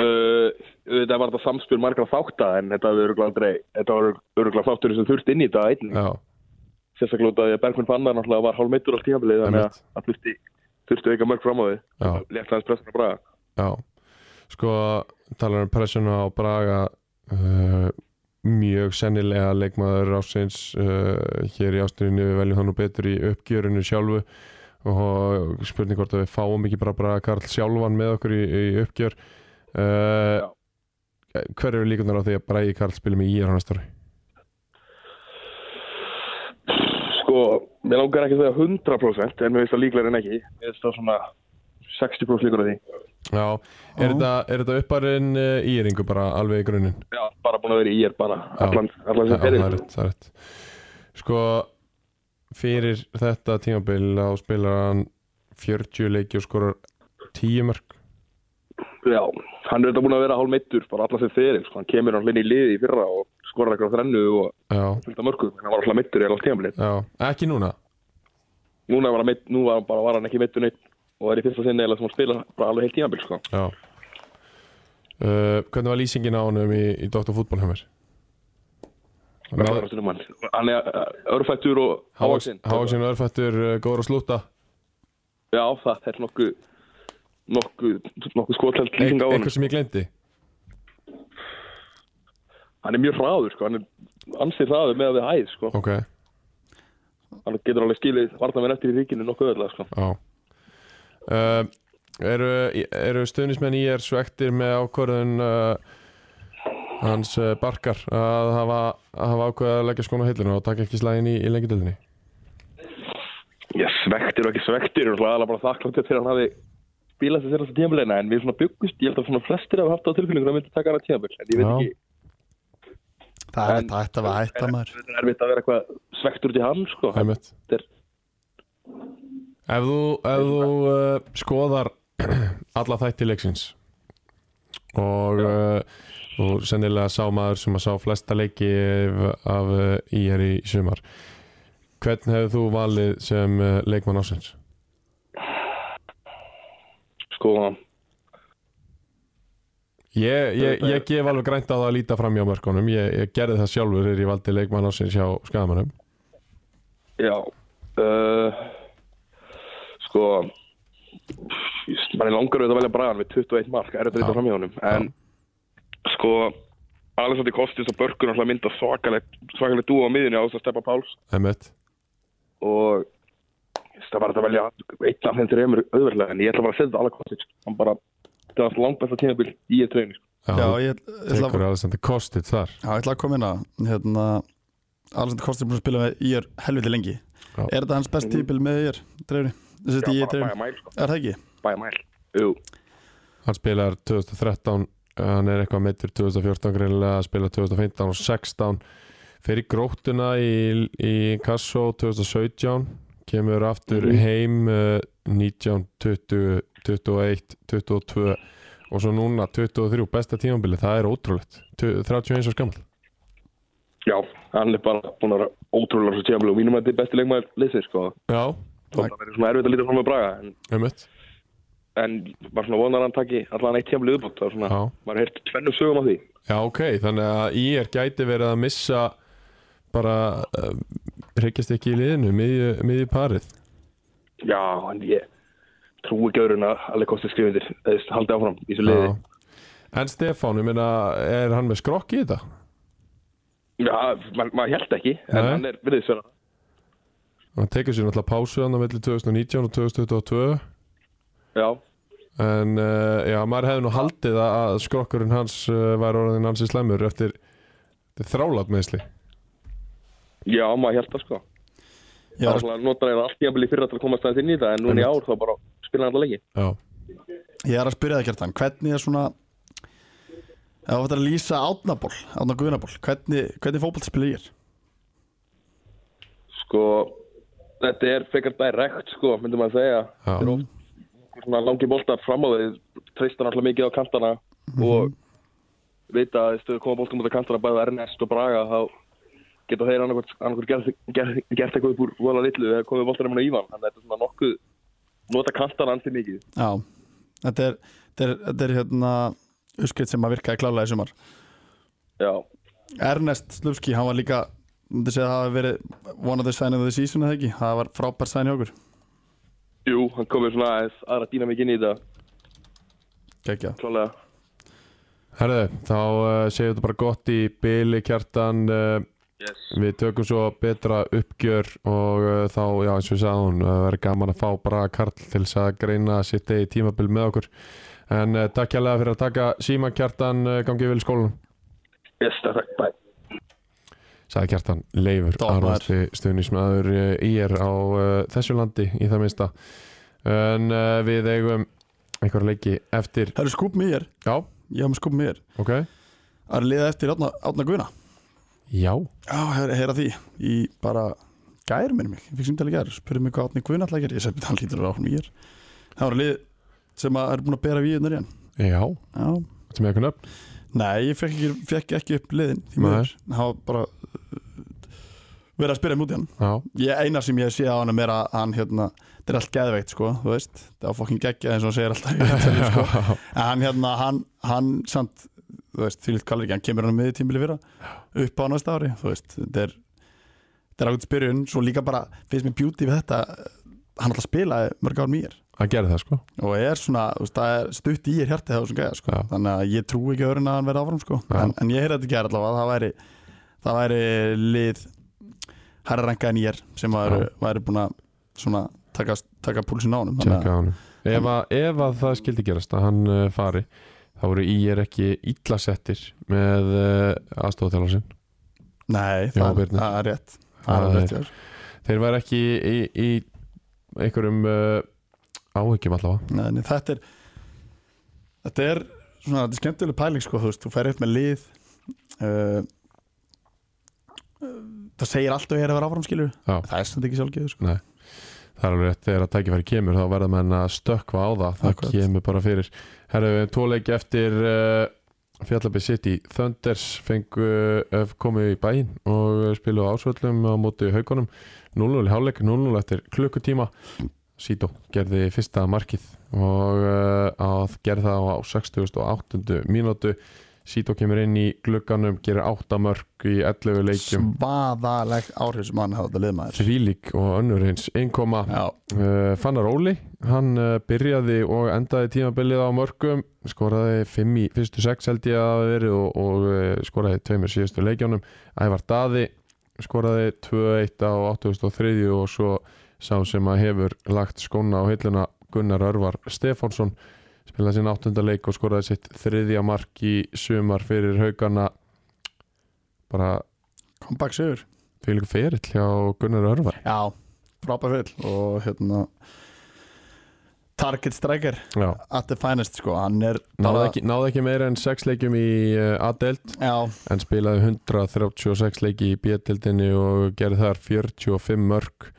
S4: Uh, þetta var þetta samspil margra þátta en þetta var öruglega aldrei þetta var öruglega þátturinn sem þurfti inn í þetta einn
S1: Já,
S4: sérstaklega út af því að Bergvin Fannar náttúrulega var hálfmeittur allt tímabilið þannig að-
S1: Einmitt.
S4: að þurfti, þurfti auka mörg fram á því
S1: já,
S4: létt aðeins pressun að braga
S1: já sko talar um pressuna á Braga uh, mjög sennilega leikmaður ásins uh, hér í ásturinni við veljum það nú betur í uppgjörinu sjálfu og spurning hvort að við fáum ekki bara Braga Karl sjálfan með okkur í, í uppgjör uh, hver eru líkunar á því að Bragi Karl spilum í í árnastóri?
S4: sko, mér langar ekki að segja 100% en mér finnst það líklega en ekki mér finnst það svona 60% líkur að því
S1: Já, er þetta, er þetta upparinn uh, íringu bara alveg í grunninn?
S4: já, bara búin að vera í ég er bara
S1: Já.
S4: allan, allan
S1: Já,
S4: sem
S1: það
S4: fyrir
S1: er rétt, það er rétt Sko, fyrir þetta tímabil á spilar hann 40 leiki og skorar 10 mörg
S4: já, hann er þetta búin að vera hálfmeittur bara allan sem fyrir sko, hann kemur hann hlinn í liði í fyrra og skorar eitthvað á þrennu og
S1: Já,
S4: fylgta mörgum, hann var alltaf meittur í allan tímabilið
S1: já, ekki núna
S4: núna var hann, meitt, nú var hann, bara, var hann ekki meittur neitt og er í fyrsta sinni eða sem hann spila bara alveg heilt tímabil sko.
S1: Já uh, Hvernig var lýsingin á honum í, í Dr. Fútbol hjá mér?
S4: Bara fyrir um hann. hann er uh, örfættur og hávaxinn.
S1: Hávaksinn örfættur, uh, góður að slúta
S4: já það er nokkuð nokkuð nokku skotlelt
S1: Eit-
S4: lýsing á hann
S1: Eitthvað sem ég glemdi
S4: hann er mjög hraður sko. hann er ansið hraður með að við hæð sko.
S1: Ok, já
S4: hann getur alveg skilið varna með eftir í ríkinu nokkuð öðlega sko.
S1: uh, Eru, eru stöðnismenn í er svektir með ákvörðun uh, hans uh, Barkar að hafa, að hafa ákvörð að leggja skona á hillinu og taka ekki slæðin í, í lengjadöldinni?
S4: ég svektir og ekki svektir og hlaðalega bara þakkláttið fyrir að hann hafi spilað sér þessa tímabilina en við svona byggust, ég held að svona flestir hafa haft á tilfinningur að myndi taka hann að tímabil en ég veit
S1: Já.
S4: ekki,
S2: Það er þetta ætti að vera hætta maður
S4: þetta er erfitt að vera eitthvað svektur út í hann sko.
S1: Æmett.
S4: Þetta er-
S1: Ef þú, ef þú uh, skoðar alla þætti leiksins og uh, og sennilega sá maður sem að sá flesta leiki af, af uh, IR í sumar hvern hefur þú valið sem uh, leikmann ásins?
S4: sko,
S1: Ég, ég, ég gef alveg grænt á það að líta fram hjá mörkunum ég, ég gerði það sjálfur þegar ég valdi leikmann ásins hjá skagamannum
S4: Já uh, Sko mann er langar auðvitað að velja Bragan við 21 mark, er þetta
S1: Já.
S4: þetta fram í honum en sko Alessandi Kostis og Börkur alltaf mynda svakalegt svakalegt dúa á miðinni á þess að steppa Páls
S1: Emmett,
S4: og það var þetta að velja einn af þeim þreymur auðverðlega en ég ætla bara að setja þetta alla Kostis hann bara, það var langt besta tímabil í ég treyni sko.
S1: já,
S2: Já,
S1: já
S2: ég, ég, ætla,
S1: tekur Alessandri Kostic þar
S2: já, ég ætla að koma inn á hérna, Alessandr Kostir búin að spila með IR helviti lengi
S1: Já.
S2: Er þetta hans best típil með IR, dreifni? Þessi þetta
S4: Mhm. Já,
S2: IR
S4: bara bæja
S2: dreifni,
S4: mæl,
S2: er
S4: sko.
S2: E það ekki?
S4: bæja mæl Jú,
S1: hann spilar 2013 hann er eitthvað meittur 2014 greinilega spila 2015 og 16 fer í gróttuna í, í Kassó 2017 kemur aftur heim uh, 19, 20, 21 22 og svo núna 23 besta tímambili það er ótrúlegt Tu- 31 og skammal
S4: já, hann er bara búin að vera ótrúlega svo tímabil og mínum að þetta er besti leikmaður leysið sko
S1: já,
S4: Þótt að verið svona erfitt að líta fram með Braga en,
S1: umhett
S4: en bara svona vonar að hann taki allan eitt tímlið upp það er svona,
S1: Já.
S4: maður heirt tvennum sögum af því
S1: Já, ok, þannig að IR gæti verið að missa bara uh, reykjast ekki í liðinu, miðju, miðju parið
S4: Já, en ég trú ekki öðrun að alveg kosti skrifundir eða haldi áfram í þessu liði
S1: Já. En Stefán, ég meina, er hann með skrokk í þetta?
S4: Já, maður ma held ekki en
S1: Nei.
S4: hann er virðið svona
S1: Hann tekur sér náttúrulega pásu hann á milli 2019 og 2022
S4: Já,
S1: En uh, já, maður hefði nú haldið að að skrokkurinn hans uh, var orðin hans í slemmur eftir, eftir þrálat meðsli
S4: já, maður held það sko
S2: Ég
S4: Það
S2: var
S4: var
S2: að
S4: svona notar eða allt tímlið fyrir að koma staðið inn í það en núna í ár þá bara spila hann alltaf leiki
S1: Já,
S2: Ég er að spyrja það kjartan, hvernig er svona ef þú ættir að lýsa átnaból, átna guðnaból hvernig, hvernig fótbolt spila ég er?
S4: Sko, þetta er frekar direkt sko, myndum maður segja
S1: já,
S4: svona langi boltar fram á því treystar náttúrulega mikið á kantana og vita að stöðu koma bóltum út af kantana bæði Ernest og Braga þá geta þeir annarkvært gert, gert, gert eitthvað upp úr vola litlu eða komið bóltanum á Ívan þannig að þetta er svona nokkuð nota kantana ansi mikið
S2: Já, þetta er, þetta er, þetta er hérna uskriðt sem að virkaði klálega í sumar
S4: Já,
S2: Ernest Slupski, hann var líka myndi segja að það hafi verið one of the sign of the season eða ekki, það var frábær sign hjá okkur
S4: jú, hann komið svona aðeins aðra dýna mikið inn í þetta
S2: Kekja,
S4: klálega
S1: Herðu, þá uh, segjum þetta bara gott í byli kjartan uh,
S4: yes.
S1: Við tökum svo betra uppgjör og uh, þá, já eins og við sagðum uh, verður gaman að fá bara Karl til þess að greina sitt degi tímabil með okkur En uh, takk hérlega fyrir að taka síma kjartan uh, gangið vel í skólanum
S4: yes, takk, bæ
S1: Sæði kjartan Leifur
S2: Topp maður.
S1: Arvarti stuðnismæður í er á uh, þessu landi í það minnsta En uh, við eigum einhverja leiki eftir
S2: það eru skúp mér
S1: Já,
S2: Já, með skúp mér
S1: ok
S2: Það eru liða eftir átna, átna guðna
S1: Já,
S2: Já, heyra, heyra því Í bara gær minni mig Ég fikk símtali gær Spurði mig hvað átni guðna alltaf gær Ég sagði, hann lítur að ráfum mér Það voru lið sem að er búin að bera við hérna hérna
S1: já,
S2: Já,
S1: sem ég kunna upp
S2: Nei, ég fekk ekki, fekk ekki upp liðin því
S1: Nei.
S2: miður, það var bara uh, verið að spyrja mútið hann
S1: Já,
S2: ég, eina sem ég sé á hann er að hann hérna, þetta er allt geðveikt sko, þú veist það var fokkin geggjað eins og hann segir alltaf í viðtölum, sko. en hann hérna, hann, hann samt, þú veist, því lítið kallar ekki hann kemur hann með tímbili fyrra, upp á næsta ári þú veist, þetta er þetta er ákveð spyrjun, svo líka bara finnst mér beauty við þetta, hann alltaf spilaði mörg ár mér
S1: að gera það sko
S2: og er svona, þú veist, það er stutt í er hjartið þá sem gæða, sko,
S1: Já.
S2: þannig að ég trú ekki öðrun að hann verði áfram, sko,
S1: Já.
S2: en, en ég heyrði þetta ekki allavega, að það væri það væri lið herra ranka en ég er, sem væri, væri búin að svona taka, taka púlsin á honum þannig
S1: Tjekka
S2: að,
S1: á honum. Ef, að, ef að það skildi gerast að hann uh, fari þá voru í er ekki illa settir með uh, aðstofþjálfar sinn Já,
S2: nei, það,
S1: Birnir.
S2: það er rétt
S1: Það
S2: það
S1: er-
S2: er rétt, já,
S1: Þeir væri ekki í, í einhverjum uh, áhyggjum allavega
S2: nei, nei, þetta er þetta er svona, þetta er skemmtileg pæling, sko, þú veist, þú fer upp með lið uh, það segir alltaf ég er að vera áfram, skilur
S1: Já.
S2: það er samt ekki sjálfgeðu, sko
S1: Það er alveg rétt þegar að tækifæri kemur þá verða menn að stökkva á það það
S2: Akkurat.
S1: kemur bara fyrir Herra við tóleiki eftir uh, Fjallabbi City Thunders fengu uh, komu í bæinn og spilu ásvöllum á móti haugunum 0-0 í hálfleik, 0-0 eftir klukkutíma Sító gerði fyrsta markið og uh, að gerði það á 68. mínútu Sító kemur inn í glugganum gerir 8 mörg í 11 leikjum
S2: svaðalegt áhrif sem hann hafði þetta liðmaður
S1: Þvílík og önnur eins innkoma
S2: Já,
S1: uh, Fannar Óli hann uh, byrjaði og endaði tímabilið á mörgum skoraði 5 í fyrstu 6 held ég að hafi verið og, og uh, skoraði tveimur síðustu leikjónum Ævar Daði skoraði 2-1 á 2003 og svo sá sem að hefur lagt skóna á hilluna Gunnar Örvar Stefánsson spilaði sinn áttunda leik og skoraði sitt þriðja mark í sumar fyrir haugana bara
S2: kom bak sigur
S1: fyrir líka ferill hjá Gunnar Örvar
S2: Já, frábær fyll og hérna Target Striker
S1: Já,
S2: at the finest sko, hann er
S1: náði ekki, náði ekki meira en 6 leikjum í uh, A-delt
S2: Já,
S1: en spilaði 136 leiki í B-tildinni og gerði þar 45 mörg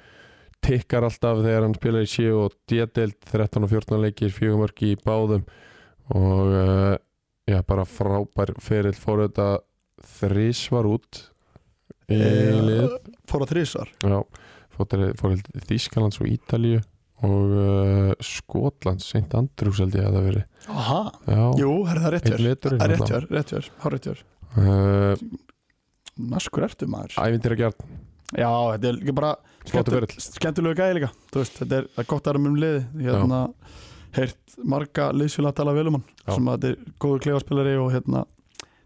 S1: tikkar alltaf þegar hann spilaði í C og D-tild 13 og 14 leiki, 4 mörg í báðum og uh, já, bara frábær ferill fór þetta þrísvar út í
S2: Eh,
S1: lið
S2: fór á þrísvar
S1: já, fór til- fór til Þískalands og Ítalíu og uh, Skotlands, St. Andrews held ég að það veri
S2: Aha,
S1: já,
S2: jú, er það rétt
S1: einn
S2: hjör
S1: liturinn
S2: Rétt hjör, rétt hjör, hár rétt hjör
S1: uh,
S2: Naskur ertu maður
S1: Ævindir að gert,
S2: Já, þetta er líka bara
S1: Flottur
S2: skemmtil- skemmtilegu gæði líka Þú veist, þetta er, það er gott að erum um liði hérna, heyrt marga liðsfélag að tala vel um hann
S1: Já.
S2: sem að þetta er góður klefaspilari og hérna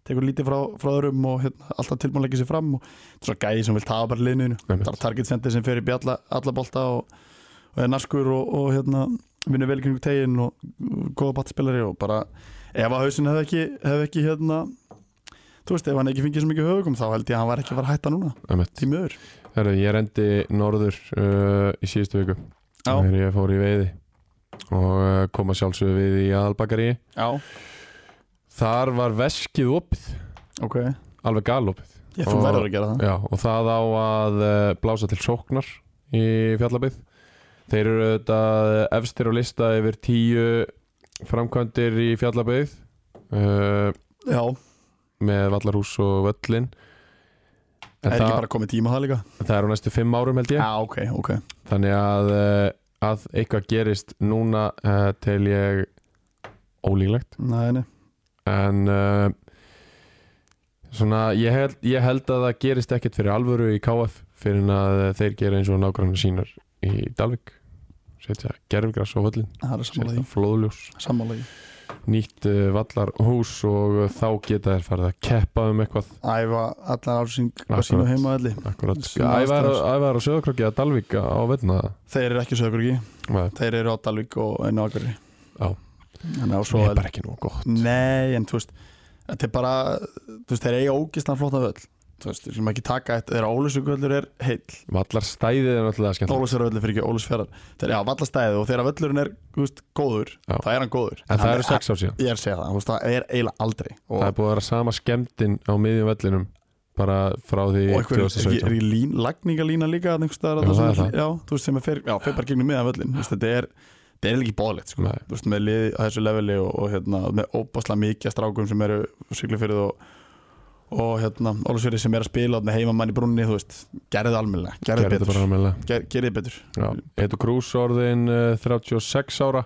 S2: tekur lítið frá, frá öðrum og hérna, alltaf tilbúin að leggja sér fram og þetta er svo gæði sem vil tafa bara liðinu þínu.
S1: Einmitt.
S2: það er target sendið sem fer upp í alla, alla bolta og, og er naskur og, og hérna vinnur vel kringu tegin og og góða battspilari og bara ef að hausin hefði ekki, hef ekki hérna þú veist, ef hann ekki fengið svo mikið höfugum þá held ég að hann var ekki að fara að hætta núna
S1: emitt
S2: því miður
S1: Herru, ég rendi norður uh, í síðustu viku
S2: Já,
S1: þegar ég fór í veiði og uh, kom að sjálfsögðu við í aðalbakari
S2: já,
S1: Þar var veskið opið,
S2: ok ég,
S1: alveg galopið
S2: þú
S1: Og-
S2: verður að gera það
S1: Já, og það á að uh, blása til sóknar í fjallabið Þeir eru auðvitað efstir á lista yfir tíu framkvæmdir í fjallabið uh,
S2: Já,
S1: með Vallarhús og Völlin en það,
S2: er ekki bara komið tíma á það líka?
S1: það er á næstu fimm árum held
S2: Já,
S1: ég
S2: ok, ok
S1: þannig að, eh, að eitthvað gerist núna uh, tel ég ólíklegt
S2: Nei, nei,
S1: en uh, svona ég held, ég held að það gerist ekkert fyrir alvöru í KF fyrir en að eh, þeir gera eins og nákvæmna sínar í Dalvik setja gerfgras á völlin
S2: það er sammála
S1: setja
S2: því
S1: flóðljós
S2: Sammála því
S1: nýtt uh, vallarhús og eh, þá geta þær farið að keppa um eitthvað
S2: Æfa allan álsing á
S1: Akkurat.
S2: sínu heimaðalli
S1: Akkurat,
S2: Svona
S1: ævar
S2: aðstæður.
S1: ævar á söðarkröki að Dalvík á veitna
S2: Þeir eru ekki sögur ekki
S1: Nei,
S2: Þeir eru á Dalvík og einu akkurri
S1: Já.
S2: Þannig á svo
S1: það
S2: vel-
S1: er bara ekki nú gott
S2: Nei, en þú veist Þetta er bara, þú veist, þeir eiga ógistan flóta völl Þú veist, við skulum ekki taka eitt Þegar Ólusugvöllur er heill
S1: Vallar stæðið er náttúrulega skemmt
S2: Ólusfjörðvöllur fyrir ekki, Ólusfjörðar Þeir eru á vallastæði og þegar völlurinn er, þú veist, góður
S1: Já.
S2: Þá er hann góður
S1: En það
S2: Hann
S1: eru
S2: er-
S1: sex ár síðan
S2: Ég er að segja það, þú veist, það er eiginlega aldrei Og,
S1: Það er búið að vera sama skemmtin á miðjum vellinum bara frá því
S2: og einhver, er ekki,
S1: 2017
S2: er ekki lín, lagningalína líka þarna einhvers staðar
S1: Jú,
S2: þarna
S1: það er
S2: sem
S1: það.
S2: Já, þú veist, sem er fer, já, fer bara gegnum miðan völlin Þú veist, Þetta er, þetta er eiginlega ekki bóðlegt sko.
S1: Nei.
S2: Þú veist, með liði á þessu leveli og, og hérna, með óbáslega mikið af strákum sem eru siglufyrð og, og hérna, Ólusfyrði sem er að spila með heimamann í brunni, þú veist, gerði það almennilega gerði
S1: Gerði
S2: það
S1: þetta bara
S2: betur, Mm.
S1: almennilega
S2: Ger, gerði betur.
S1: Edu Krús orðin uh, 36 ára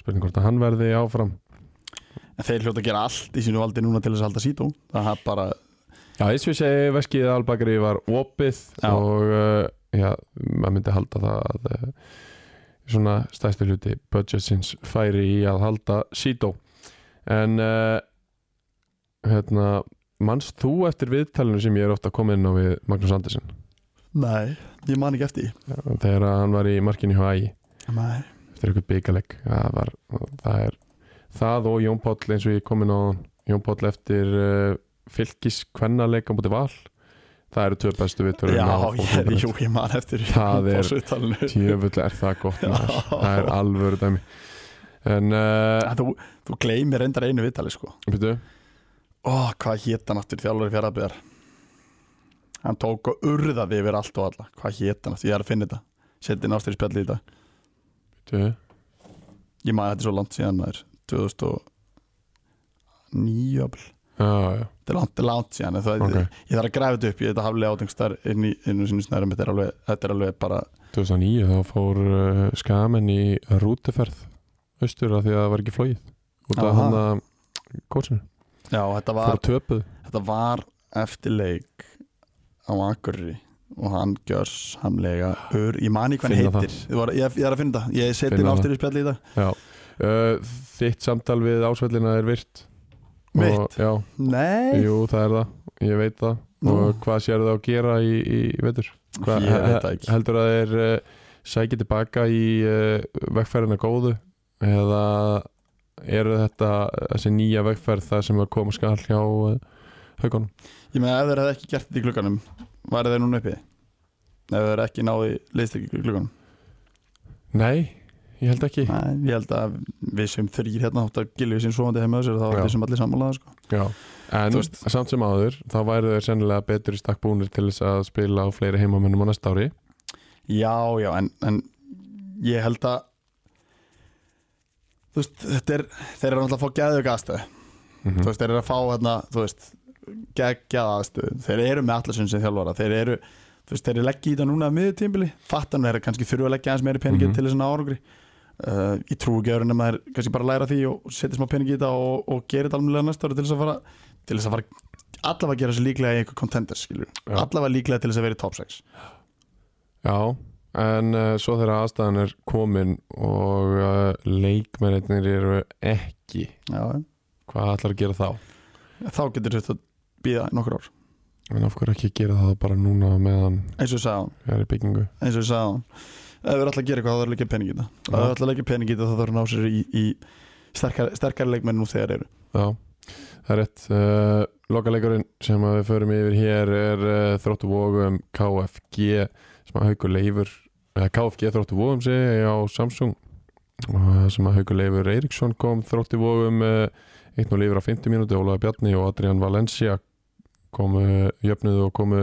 S1: Spurning hvort að hann verði áfram
S2: En þeir hljóta að gera allt í sínu valdi núna til þess að halda sító Það er bara,
S1: Já, eins og ég segi, veskið albakari var opið
S2: Já.
S1: og uh, já, maður myndi halda það að uh, svona stærsti hluti budgetsins færi í að halda sító en uh, hérna manst þú eftir viðtalinu sem ég er ofta komin inn á við Magnús Andersen
S2: nei, ég man ekki eftir því.
S1: þegar að hann var í markinu hjá ægi
S2: Nei,
S1: eftir einhvern byggaleg það, var, það er það og Jón Páll eins og ég er komin á Jón Páll eftir uh, fylgis kvennaleik á múti val það eru tvö bestu viðtölum
S2: já,
S1: á
S2: ég,
S1: fótbolta.net.
S2: jú, ég man eftir því.
S1: Það er-
S2: Fórsvittalinu.
S1: Djöfull er það gott maður
S2: Já.
S1: það er alvöru dæmi en uh,
S2: En Þú, þú gleymir endar einu vitali sko
S1: byrju,
S2: Ó, hvað hétt hann aftur þjálfur í fjaraðbyðar Hann tók og urðaði yfir allt og alla Hvað hétt hann aftur, ég er að finna þetta Setti nástur í spjalli í dag
S1: byrju,
S2: Ég maður þetta er svo langt síðan maður 2009 jafnvel.
S1: já, já.
S2: Þetta er langt, þetta er langt síðan en það,
S1: Ok.
S2: Ég þarf að græfa þetta upp, ég þetta haflega átengstar inn í inn í sinni snærum Þetta er alveg, þetta er alveg bara
S1: 2009 þá fór uh, skamen í rúteferð austur af því að það var ekki flóið út af
S2: Aha.
S1: hann að kótsinu
S2: Já, þetta var,
S1: fór töpuð
S2: þetta var eftir leik á Akurri og hann gjör samlega ur, ég mani hvað hann
S1: Finna það.
S2: heitir Ég var, ég, ég er að finna það, ég seti
S1: Finna
S2: nástur í spjalli í dag
S1: já. Uh, þitt samtal við ásvellina er virt Og-
S2: Mitt?
S1: já,
S2: Nei
S1: jú það er það, ég veit það og
S2: Nú.
S1: hvað sér það að gera í, í vetur Hva,
S2: Ég veit það ekki
S1: heldur að þeir uh, sækja tilbaka í uh, vegferðina góðu eða eru þetta þessi nýja vegferð það sem að koma skall hjá uh, haugunum
S2: Ég meina ef þeir hefði ekki gert þetta í klukkanum Værið þeir núna uppi Ef þeir ekki náði leistekki í klukkanum
S1: nei, ég held ekki
S2: Nei, Ég held að við sem þrýr hérna Hátt að gilvið sín svovandi heima á sér Þá
S1: Já.
S2: er þessum allir sammálaða sko.
S1: Já. en
S2: Þú veist-
S1: samt sem áður þá væru þeir sennilega betur í stakk búnir til þess að spila á fleiri heimamennum á næsta ári
S2: Já, já, en, en Ég held að Þú veist, þetta er Þeir eru náttúrulega að fá geðug aðstöð
S1: Mhm.
S2: Þú veist, þeir eru að fá hérna Þú veist, geggjað aðstöð Þeir eru með allarsinn sem þjálfara Þeir eru, þú veist, þeir eru leggja í þetta núna að miðutímbili Fattan þeir eru kannski þurfa að leggja aðeins meiri peningi
S1: Mhm.
S2: til þess að ná árangri uh, Ég trúi ekki öðrun að maður kannski bara læra því og setja smá peningi í þetta og, og gera þetta alveg næsta ári til þess að fara til þess að fara allavega að gera þessu líklega í einhver contenders skilur
S1: Já.
S2: allavega líklega til þess að vera í top 6
S1: Já, en uh, svo þegar aðstæðan er komin og uh, leikmennir eru ekki,
S2: Já, já.
S1: hvað ætlar að gera þá?
S2: þá getur þetta að býða nokkur ár
S1: En af hverju ekki gera það bara núna á meðan
S2: eins og ég sagði á
S1: við erum í byggingu?
S2: eins og ég sagði hann ef við erum alltaf að gera eitthvað þá þarf að leggja pening í þetta ef við
S1: Já.
S2: erum alltaf að leggja pening í þetta þá þarf að ná sér í, í sterkar, sterkar leikmenn nú þegar eru
S1: Já, það er rétt. Uh, Lokaleikurinn sem að við förum yfir hér er uh, þróttu vógum KFG sem að haugur leifur, eh, eða KFG þróttu vógum sig á Samsung uh, sem að haugur leifur Eiríksson kom þróttu vógum uh, 1-0 yfir á 50 mínúti, Ólaði Bjarni og Adrian Valencia komu jöfnuðu og komu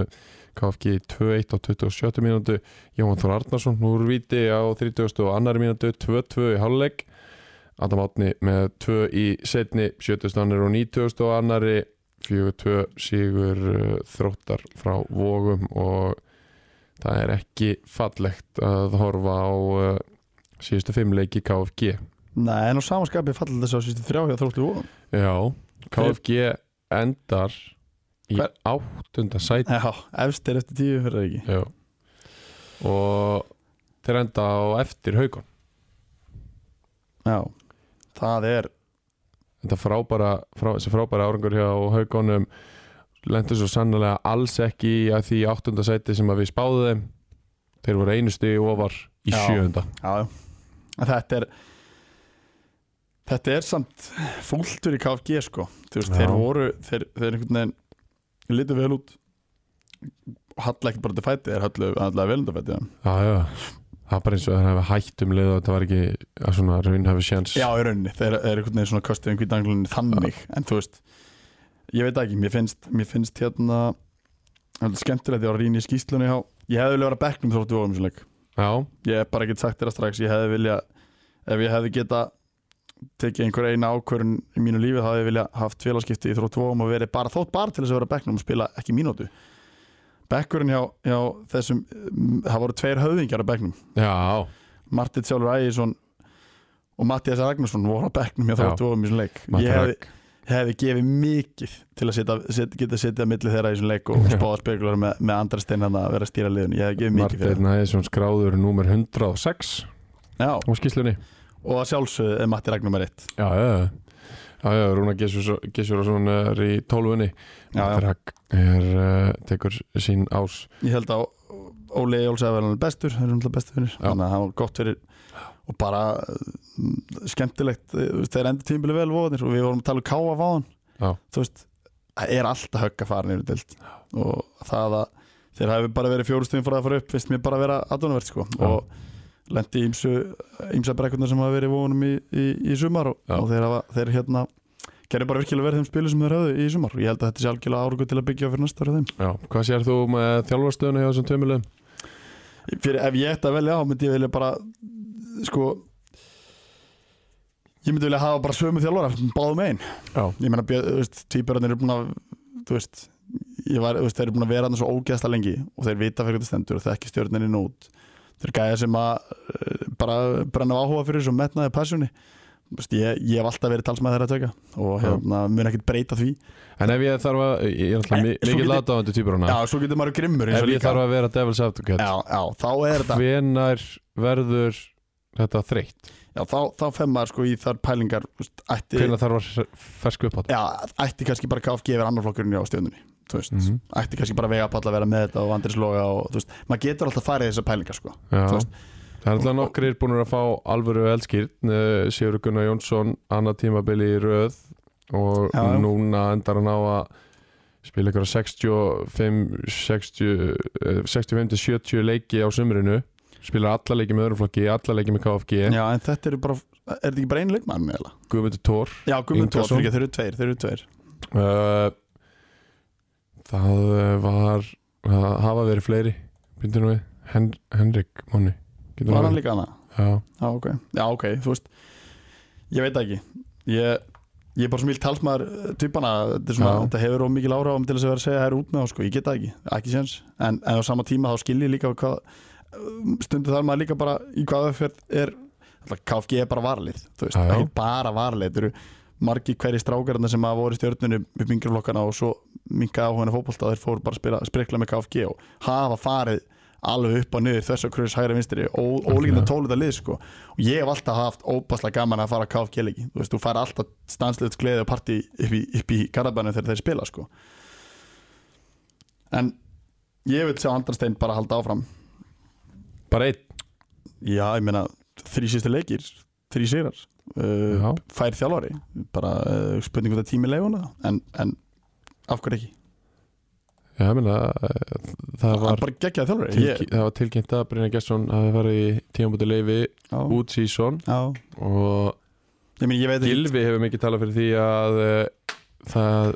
S1: KFG í 2-1 á 27 mínútu Jóhann Þór Arnarsson úr víti á 30 og annar mínútu 2-2 í hálfleik Adam Átni með 2 í setni 70 annar og 90 og annari 4-2 sigur uh, þróttar frá vógum og það er ekki fallegt að horfa á uh, síðustu fimm leiki KFG
S2: Nei, en á samanskapi fallið þessu á sístu þrjá hjá þróttu og
S1: Já, KFG endar í
S2: Hver-
S1: áttunda sæti
S2: Já, efstir eftir tíu fyrir það ekki
S1: Já. og þeir enda á eftir haugum
S2: Já, það er
S1: þetta frábæra, frá, þessi frábæra árangur hjá haugunum lendur svo sannlega alls ekki í að því áttunda sæti sem að við spáðum þeim þeir voru einu stigi ofar í
S2: Já.
S1: sjöunda
S2: Já, já. En þetta er þetta er samt fúltur í KFG sko Þú veist,
S1: Já.
S2: þeir voru þeir, þeir einhvern veginn litu vel út Halla ekkert bara til fæti þeir hallu allavega vel undir fæti já.
S1: Já, já, það er bara eins og þeir hafi hætt um lið og þetta var ekki að svona raun hafi sjans
S2: já, í rauninni, þeir, þeir einhvern veginn svona kostið um hvítanglunni þannig, en þú veist ég veit það ekki, mér finnst, mér finnst hérna heldur skemmtilegt, ég var að rýna í skýslunni hjá, ég hefði viljað vera á bekknum þróttu vóðum svona leik
S1: já,
S2: ég hef bara ekkert sagt þér það strax ég hefði vilja, ef ég hefði geta tekið einhver eina ákvörun í mínu lífi þá hefði ég vilja haft félagskipti í þrótt vóum og verið bara þótt bara til þess að vera á bekknum og spila ekki mínútu bekkurinn hjá, hjá þessum mm, það voru tveir höfðingjar á bekknum
S1: já,
S2: Martit Sjálfur Ægisson og Mattias Ragnarsson voru á bekknum hjá
S1: Já.
S2: þrótt vóum í þessum leik
S1: Matti
S2: ég hefði,
S1: Ragn.
S2: hefði gefið mikið til að sita, sit, geta setja á milli þeirra í þessum leik og spáða spekular með, með andra steinan að vera að stýra liðun ég hefði gefið mikið fyrir
S1: Martin Æðisson skráður númer 106
S2: það Já.
S1: á skýslunni
S2: og að sjálfsögðu er Matti Ragnar með rétt
S1: Já, já, já. já, já Rúna Gessurason er í tólfunni
S2: já.
S1: Drak er, uh, tekur sín ás
S2: ég held að Óli Jóls að vera hann bestur, það er umhverfið bestu fyrir
S1: Já.
S2: þannig að það var gott fyrir og bara mm, skemmtilegt eh, þú veist, þeir endur tímbili vel voðanir og við vorum að tala um káa váðan
S1: Já.
S2: þú veist, það er alltaf högg að fara niður dild og það að þeir hafi bara verið fjórustuðin fyrir að fara upp finnst mér bara að vera aðdunavert sko
S1: Já.
S2: og lendi ímsu, ímsa brekkunar sem hafa verið í vonum í, í, í sumar og,
S1: Já.
S2: og þeir, hafa, þeir hérna gerði bara virkilega verið þeim spilu sem þeir höfðu í sumar og ég held að þetta sé algjörlega árugu til að byggja á fyrir næsta ára þeim
S1: Já, hvað sér þú með þjálfarstöðuna hjá þessum tveimilegum?
S2: fyrir, ef ég ætti að velja þá myndi ég vilja bara sko ég myndi vilja hafa bara sömu þjálfara báðum einn
S1: Já.
S2: ég meina, Björn- þú veist, tvíbjörðin eru búin að þú veist, ég var, þú veist, þeir eru búin að vera þarna svo ógeðsla lengi og þeir vita fyrir þetta stendur og þekki stjórninni nút þeir eru gæja sem að eh, bara brenna á áhuga fyrir þessu og metnaði passjóni ég, ég hef alltaf verið talsmaður þeirra að tökja og
S1: Já.
S2: hérna, mun ekkert breyta því
S1: En ef ég þarf að, ég er alltaf
S2: En,
S1: mi
S2: svo
S1: mikið
S2: getur-
S1: lataðandi týpur
S2: já,
S1: hana
S2: svo getur maður grimmur eins
S1: Ef
S2: og
S1: ég
S2: líka
S1: þarf að vera devils
S2: já,
S1: afturkjöld
S2: já, þá er þetta
S1: Hvenær verður þetta þreytt?
S2: já, þá, þá fem maður sko í þar pælingar þú veist, ætti,
S1: Hvenær þarf að fersku upp á þetta?
S2: já, ætti kannski bara KFG verið annar flokkurinn á stjórninni þú veist,
S1: Mhm.
S2: ætti kannski bara vega palla að vera með þetta og Andris Loga og þú veist, maður getur alltaf farið í þessar pælingar sko
S1: Já,
S2: Þú veist-
S1: það er alltaf nokkrir búin að fá alvöru elskýrn Sigur Gunnar Jónsson, annað tímabili í röð og
S2: Já, já.
S1: núna endar hann á að spila ykkur 65 60, eh, 65 til 70 leiki á sumrinu spilar alla leiki með öruflokki, alla leiki með KFG
S2: Já, en þetta eru bara, er þetta ekki bara einu leikmann eða?
S1: Guðmundur Tór
S2: Já, Guðmundur
S1: Ingason.
S2: Tór, þeir eru tveir, þeir eru tveir
S1: uh, það eh, var það hafa verið fleiri byrjum nú við, Hen Henrik Móni getur
S2: Var
S1: verið?
S2: hann líka hana?
S1: Já,
S2: Já, ok, já, ok, þú veist Ég veit það ekki Ég, ég er bara smíl talsmaður eh, týpana þetta, er svona,
S1: Já.
S2: þetta hefur of mikil áhrifum til þess að vera að segja það er út með þá sko, ég get það ekki, ekki séns en, en á sama tíma þá skil ég líka hvað, stundu þar maður líka bara í hvað öðferð er alltaf, KFG er bara varlið, þú veist,
S1: Já, já.
S2: ekki bara varlið þetta eru margi hverjir strákarna sem að voru í stjórnunum upp yngreflokkana og svo minkaði áhugana fótbolta, þeir fóru bara að spila, sprikla með KFG og hafa farið alveg upp og niður þess að kröðs hægri vinstri og ólíkina tólita lið sko og ég hef alltaf haft óbáslega gaman að fara að KFG leiki þú veist, þú fær alltaf stanslut gleði og partí upp í, upp í garabænum þegar þeir spila sko en ég veit sjá Andrastein bara halda áfram
S1: bara einn
S2: já, ég meina, þrý síðustu leikir þrý sigrar uh,
S1: Já.
S2: fær þjálfari, bara uh, spurning hvort að tími leifuna, en, en af hverju ekki,
S1: Já, ég meina, eh, það
S2: hann
S1: var
S2: bara geggjaði þjálfari
S1: Tilky, Það var tilkynnt að Brynja Gesson hafi farið í tímabúti leifi
S2: já,
S1: út sísón
S2: já,
S1: og
S2: ég meina, ég veit ekki
S1: Gilvi hefur mikið talað fyrir því að eh, það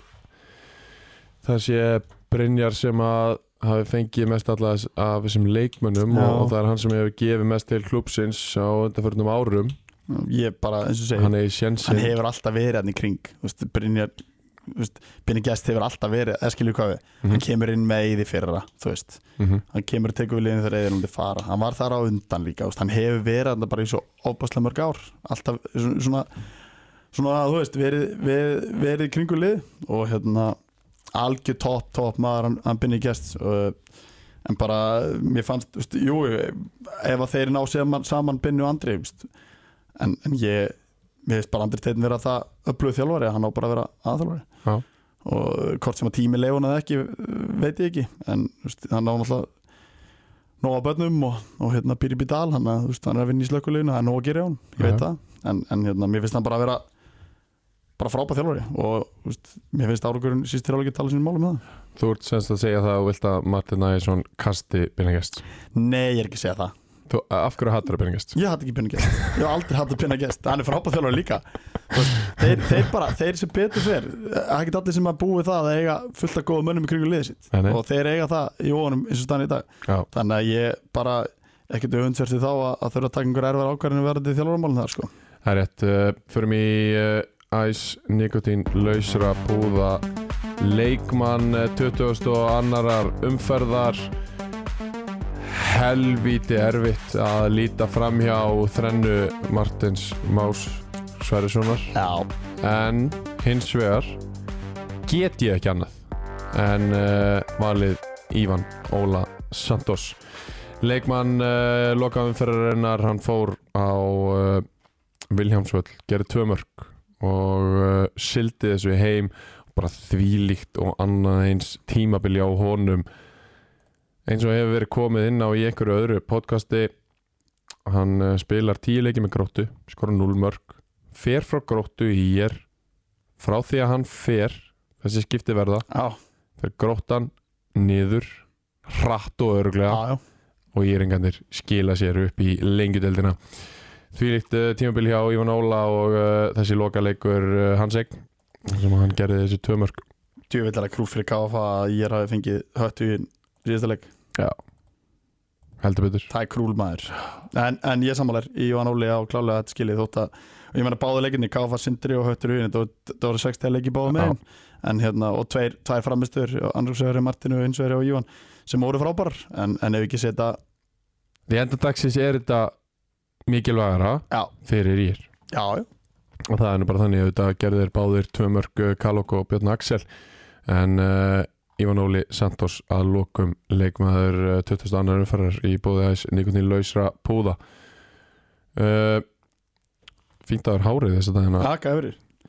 S1: það sé Brynjar sem að hafi fengið mest alla þess- af þessum leikmönnum
S2: Já.
S1: og, og það er hann sem hefur gefið mest til klúpsins á undanförnum árum
S2: ég bara, eins og segi
S1: hann er í sjensin
S2: hann hefur alltaf verið hann í kring Þú veist, Brynjar þú veist, Binni Gest hefur alltaf verið eða skilju hvað við,
S1: Mhm.
S2: hann kemur inn með Eiði fyrra, þú veist hann kemur og tekur við liðinu þegar Eiði er um til fara hann var þar á undan líka, þú veist, hann hefur verið hann bara í svo óbáslega mörg ár alltaf svona, svona, svona þú veist, verið, verið, verið kringu lið og hérna algjör topp, topp maður hann, hann Binni Gest og en bara, mér fannst, þú veist, jú ef að þeir ná saman, saman Binni og Andri, þú veist en, en ég, mér veist bara Andri Teitin vera það upplöð þjálfari, að hann á bara að vera aðþjálfari
S1: Já.
S2: og hvort sem að tími leifun eða ekki, veit ég ekki en þú veist, hann á náttúrulega nóg að börnum og, og hérna býr í bítal hann, að, þú veist, hann er að vinna í slökuleginu, það er nóg að gera hjá hann ég veit
S1: Já.
S2: það, en, en hérna, mér finnst hann bara að vera bara frábæð þjálfari og þú veist, mér finnst árugurinn síst þjálfari tala sínum málum með það
S1: Þú ert semst að segja það að þú vilt að Martin Ægjesson kasti Binningest
S2: Nei, ég er ekki að segja það
S1: Þú, af hverju hattur að Binningest?
S2: Ég hatt ekki pinnagest, ég hef aldrei hatt að pinnagest Hann er frábæð þjálfur líka Þú veist, þeir, þeir bara, þeir sem betur fer Það er ekki allir sem að búi það að eiga fullt af góða mönnum í kringu liðið sitt
S1: Nei, nei.
S2: Og þeir eiga það í óanum eins og staðan í dag
S1: Já,
S2: Þannig að ég bara ekkert auðvundsverti þá að, að þurfa að taka einhver erfar ákvarðinu verðandi þjálfurmálum þar sko
S1: það er rétt uh, Förum í uh, Æs Nikotín lausra búða leikmann eh, 20. og annarar umferðar helvíti erfitt að líta fram hjá þrennu Martins Más Sverrissonar
S2: Já,
S1: en hins vegar get ég ekki annað en uh, valið Ívan Óla Santos leikmann uh, lokaumferðarinnar hann fór á uh, Viljámsvöll, gerði tvö mörg og uh, sildi þessu heim bara þvílíkt og annað eins tímabili á honum eins og hefur verið komið inn á í einhverju öðru podcasti hann uh, spilar tíu leiki með gróttu skora 0 mörg fer frá gróttu í ég frá því að hann fer þessi skipti verða,
S2: já,
S1: fer gróttan niður, hratt og örglega
S2: já, já
S1: og íringandir skila sér upp í lengjudeldina því líkt uh, tímabil hjá Ívan Óla og uh, þessi lokaleikur uh, hans egg sem hann gerði þessi tvö mörg
S2: Djöfellara krúf fyrir KFA að ég hafi fengið höttu í síðasta leik
S1: heldur betur
S2: Það er krúl maður En, en ég sammálar í Jóhann Óli á klálega þetta skilið þótt að og ég menna báðu leikinni, Káfa Sindri og Höttur Hugin þetta voru- þetta voru 60 leiki báðu með en hérna, og tveir, tveir framistur annarsvegri Martinu og hinsvegri og Jóhann sem voru frábærar, en, en ef ekki setja
S1: því enda dagsins er þetta mikilvægara
S2: já,
S1: fyrir ír
S2: já, já,
S1: og það er nú bara þannig að þetta gerði þeir báðir tvö mörg Kalok og Björn Axel en uh, Ívan Óli Santos að lokum leikmaður uh, 22. umferðar í bóði aðeins Nikotín Lausra Púða uh, fínt að það er hárið þess að dagina
S2: haka yfir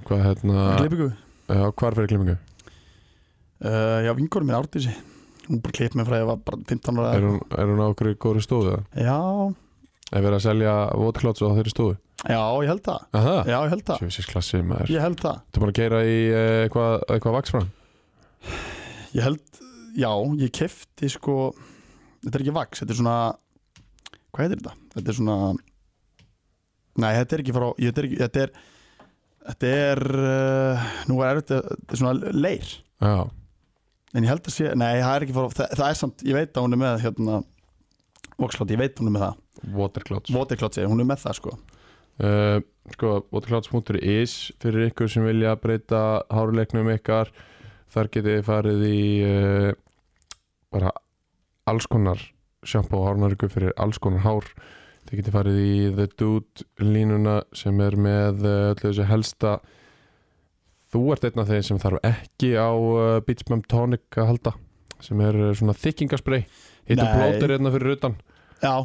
S1: hvað hérna,
S2: klippingu,
S1: uh, hvar fyrir klippingu
S2: uh, já, vingur minn Árdísi hún bara klipp mig frá því að ég var bara 15 ára
S1: er hún, er hún á okkur í góðri stofu eða?
S2: já,
S1: er verið að selja votkláts á þeirri stofu
S2: já, ég held það
S1: aha,
S2: já, ég held það,
S1: sjöfisins klassi maður
S2: ég held það
S1: þú búin að keira í uh, eitthvað, eitthvað vaks fram
S2: Ég held, já, ég kefti sko Þetta er ekki vaks, þetta er svona Hvað heitir þetta? Þetta er svona Nei, þetta er ekki frá ég- Þetta er, ekki- þetta er, þetta er uh, Nú er erfitt, að- þetta er svona leir
S1: já,
S2: En ég held að sé, nei, það er ekki frá Það, það er samt, ég veit að hún er með hérna Voxlóti, ég veit að hún er með það
S1: votkláts
S2: Votiklóti, hún er með það sko
S1: Uh, sko, waterclouds.is fyrir ykkur sem vilja breyta háruleiknum ykkar þar getið þið farið í uh, bara alls konar sjampó og hárnar ykkur fyrir alls konar hár þið getið farið í The Dude línuna sem er með uh, öllu þessu helsta þú ert einn af þeir sem þarf ekki á uh, Beach Bum Tonic að halda sem er uh, svona þykkingaspray hittu
S2: Nei.
S1: blótur einna fyrir utan
S2: Já,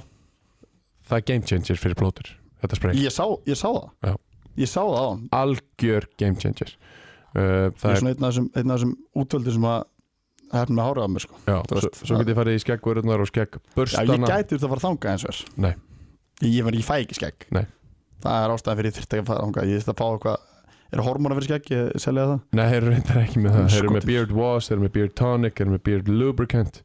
S1: það er game changer fyrir blótur þetta spray
S2: ég sá, ég sá það
S1: Já.
S2: Ég sá það á hann
S1: algjör game changer uh,
S2: Ég
S1: það
S2: er
S1: er,
S2: svona einn af þessum, einn af þessum útvöldu sem að Hefnum með hárað á mér sko
S1: já,
S2: þú
S1: svo,
S2: veist,
S1: svo getið farið í skeggvörðunar og
S2: Já, ég
S1: skeggbörstana
S2: gæti þetta að fara þangað eins og þess
S1: Nei.
S2: Ég, ég, meni, ég fæ ekki skegg
S1: Nei.
S2: Það er ástæðan fyrir ég þyrfti ekki að fara þangað Ég þyrfti að fá eitthvað Er hormóna fyrir skegg, ég selja það
S1: nei, þeir eru reyndar ekki með það þeir eru með
S2: Andskotir.
S1: beard wash, þeir eru með beard tonic þeir eru með beard lubricant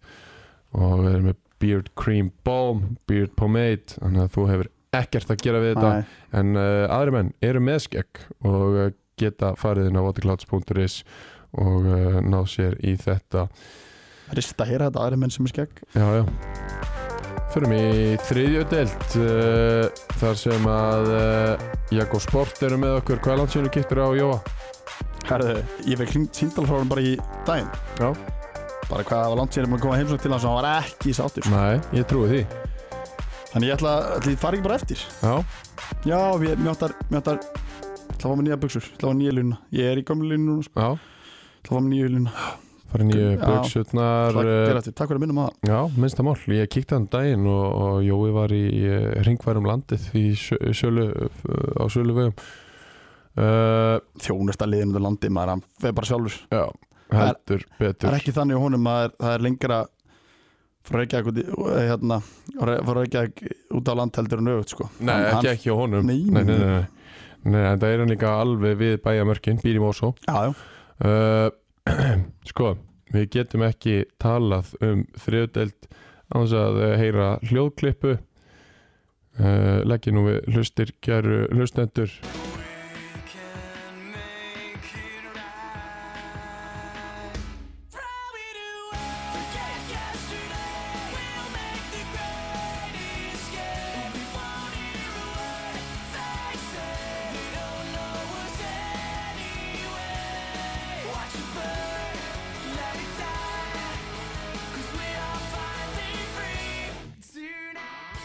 S1: og þeir eru með beard cream balm beard pomade, þannig að þú hefur ekkert að gera við þetta
S2: Nei.
S1: en uh, aðri menn eru með skegg og uh, geta farið inn á waterclouds.is og uh, ná sér í þetta
S2: Rista hér þetta aðri menn sem er skegg
S1: Já, já Förum í þriðju deilt uh, eh, Þar sem að uh, Jakob Sport eru með okkur Hvað er landsinu kittur á Jóa?
S2: Herðu, ég fekk síndal frá hann bara í daginn
S1: Já.
S2: bara hvað það var langt sér að koma heimsókn til hans og hann var ekki sáttur
S1: Nei, ég trúi því
S2: þannig ég ætla að fara ekki bara eftir
S1: Já,
S2: já, ég, mér áttar mér áttar ætla að fá mér nýja buksur, ætla að fá nýja luna ég er í gamlu luna núna, sko.
S1: já,
S2: ætla að fá mér nýja luna
S1: farið nýju
S2: Já.
S1: buksutnar
S2: ætla að gera eftir, takk fyrir að minna um maður
S1: eh, Já, minnsta mál, ég kíkti hann um daginn og, og Jói var í eh, hringværum landið í sjö, sjölu, á sölu vegum uh,
S2: þjónust að liðinu til landi maður, hann fer bara sjálfur
S1: Já, heldur
S2: það
S1: betur
S2: er ekki þannig á honum að það er lengra frá Reykjavík út í- eh, hérna, frá Reykjavík út á land heldur en auðvitað sko.
S1: Nei,
S2: Hann-
S1: ekki,
S2: hann-
S1: ekki á honum
S2: Nei,
S1: nei, nei,
S2: nei.
S1: nei, nei. nei en það er hann líka alveg við bæjamörkin, býr í Mosó
S2: Já, já.
S1: uh, Sko, við getum ekki talað um þriðdelt án þess að eh, heyra hljóðklippu uh, Leggi nú við hlustir, kæru hlustendur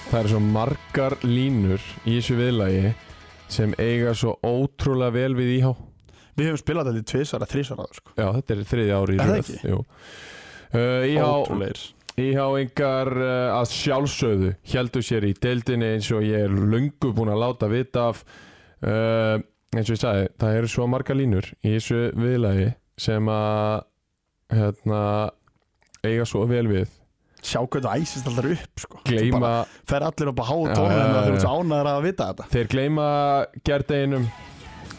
S1: það eru svo margar línur í þessu viðlagi sem eiga svo ótrúlega vel við íhá
S2: Við höfum spilað þetta í tvisvara, þrísvara sko.
S1: Já, þetta er þriðja ári í
S2: Er það
S1: röð,
S2: ekki?
S1: jú. Uh, íhá,
S2: Ótrúleir
S1: Íháingar uh, að sjálfsögðu heldur sér í deildinni eins og ég er löngu búin að láta vita af uh, eins og ég sagði, það eru svo marga línur í þessu viðlagi sem að hérna, eiga svo vel við
S2: Sjá hvernig þú æsist alltaf upp sko. Þú
S1: gleyma,
S2: bara Fer allir upp að háa
S1: Já, já,
S2: tónum þegar þú
S1: já.
S2: ert svo ánæður að vita þetta
S1: þeir gleyma gerdeginum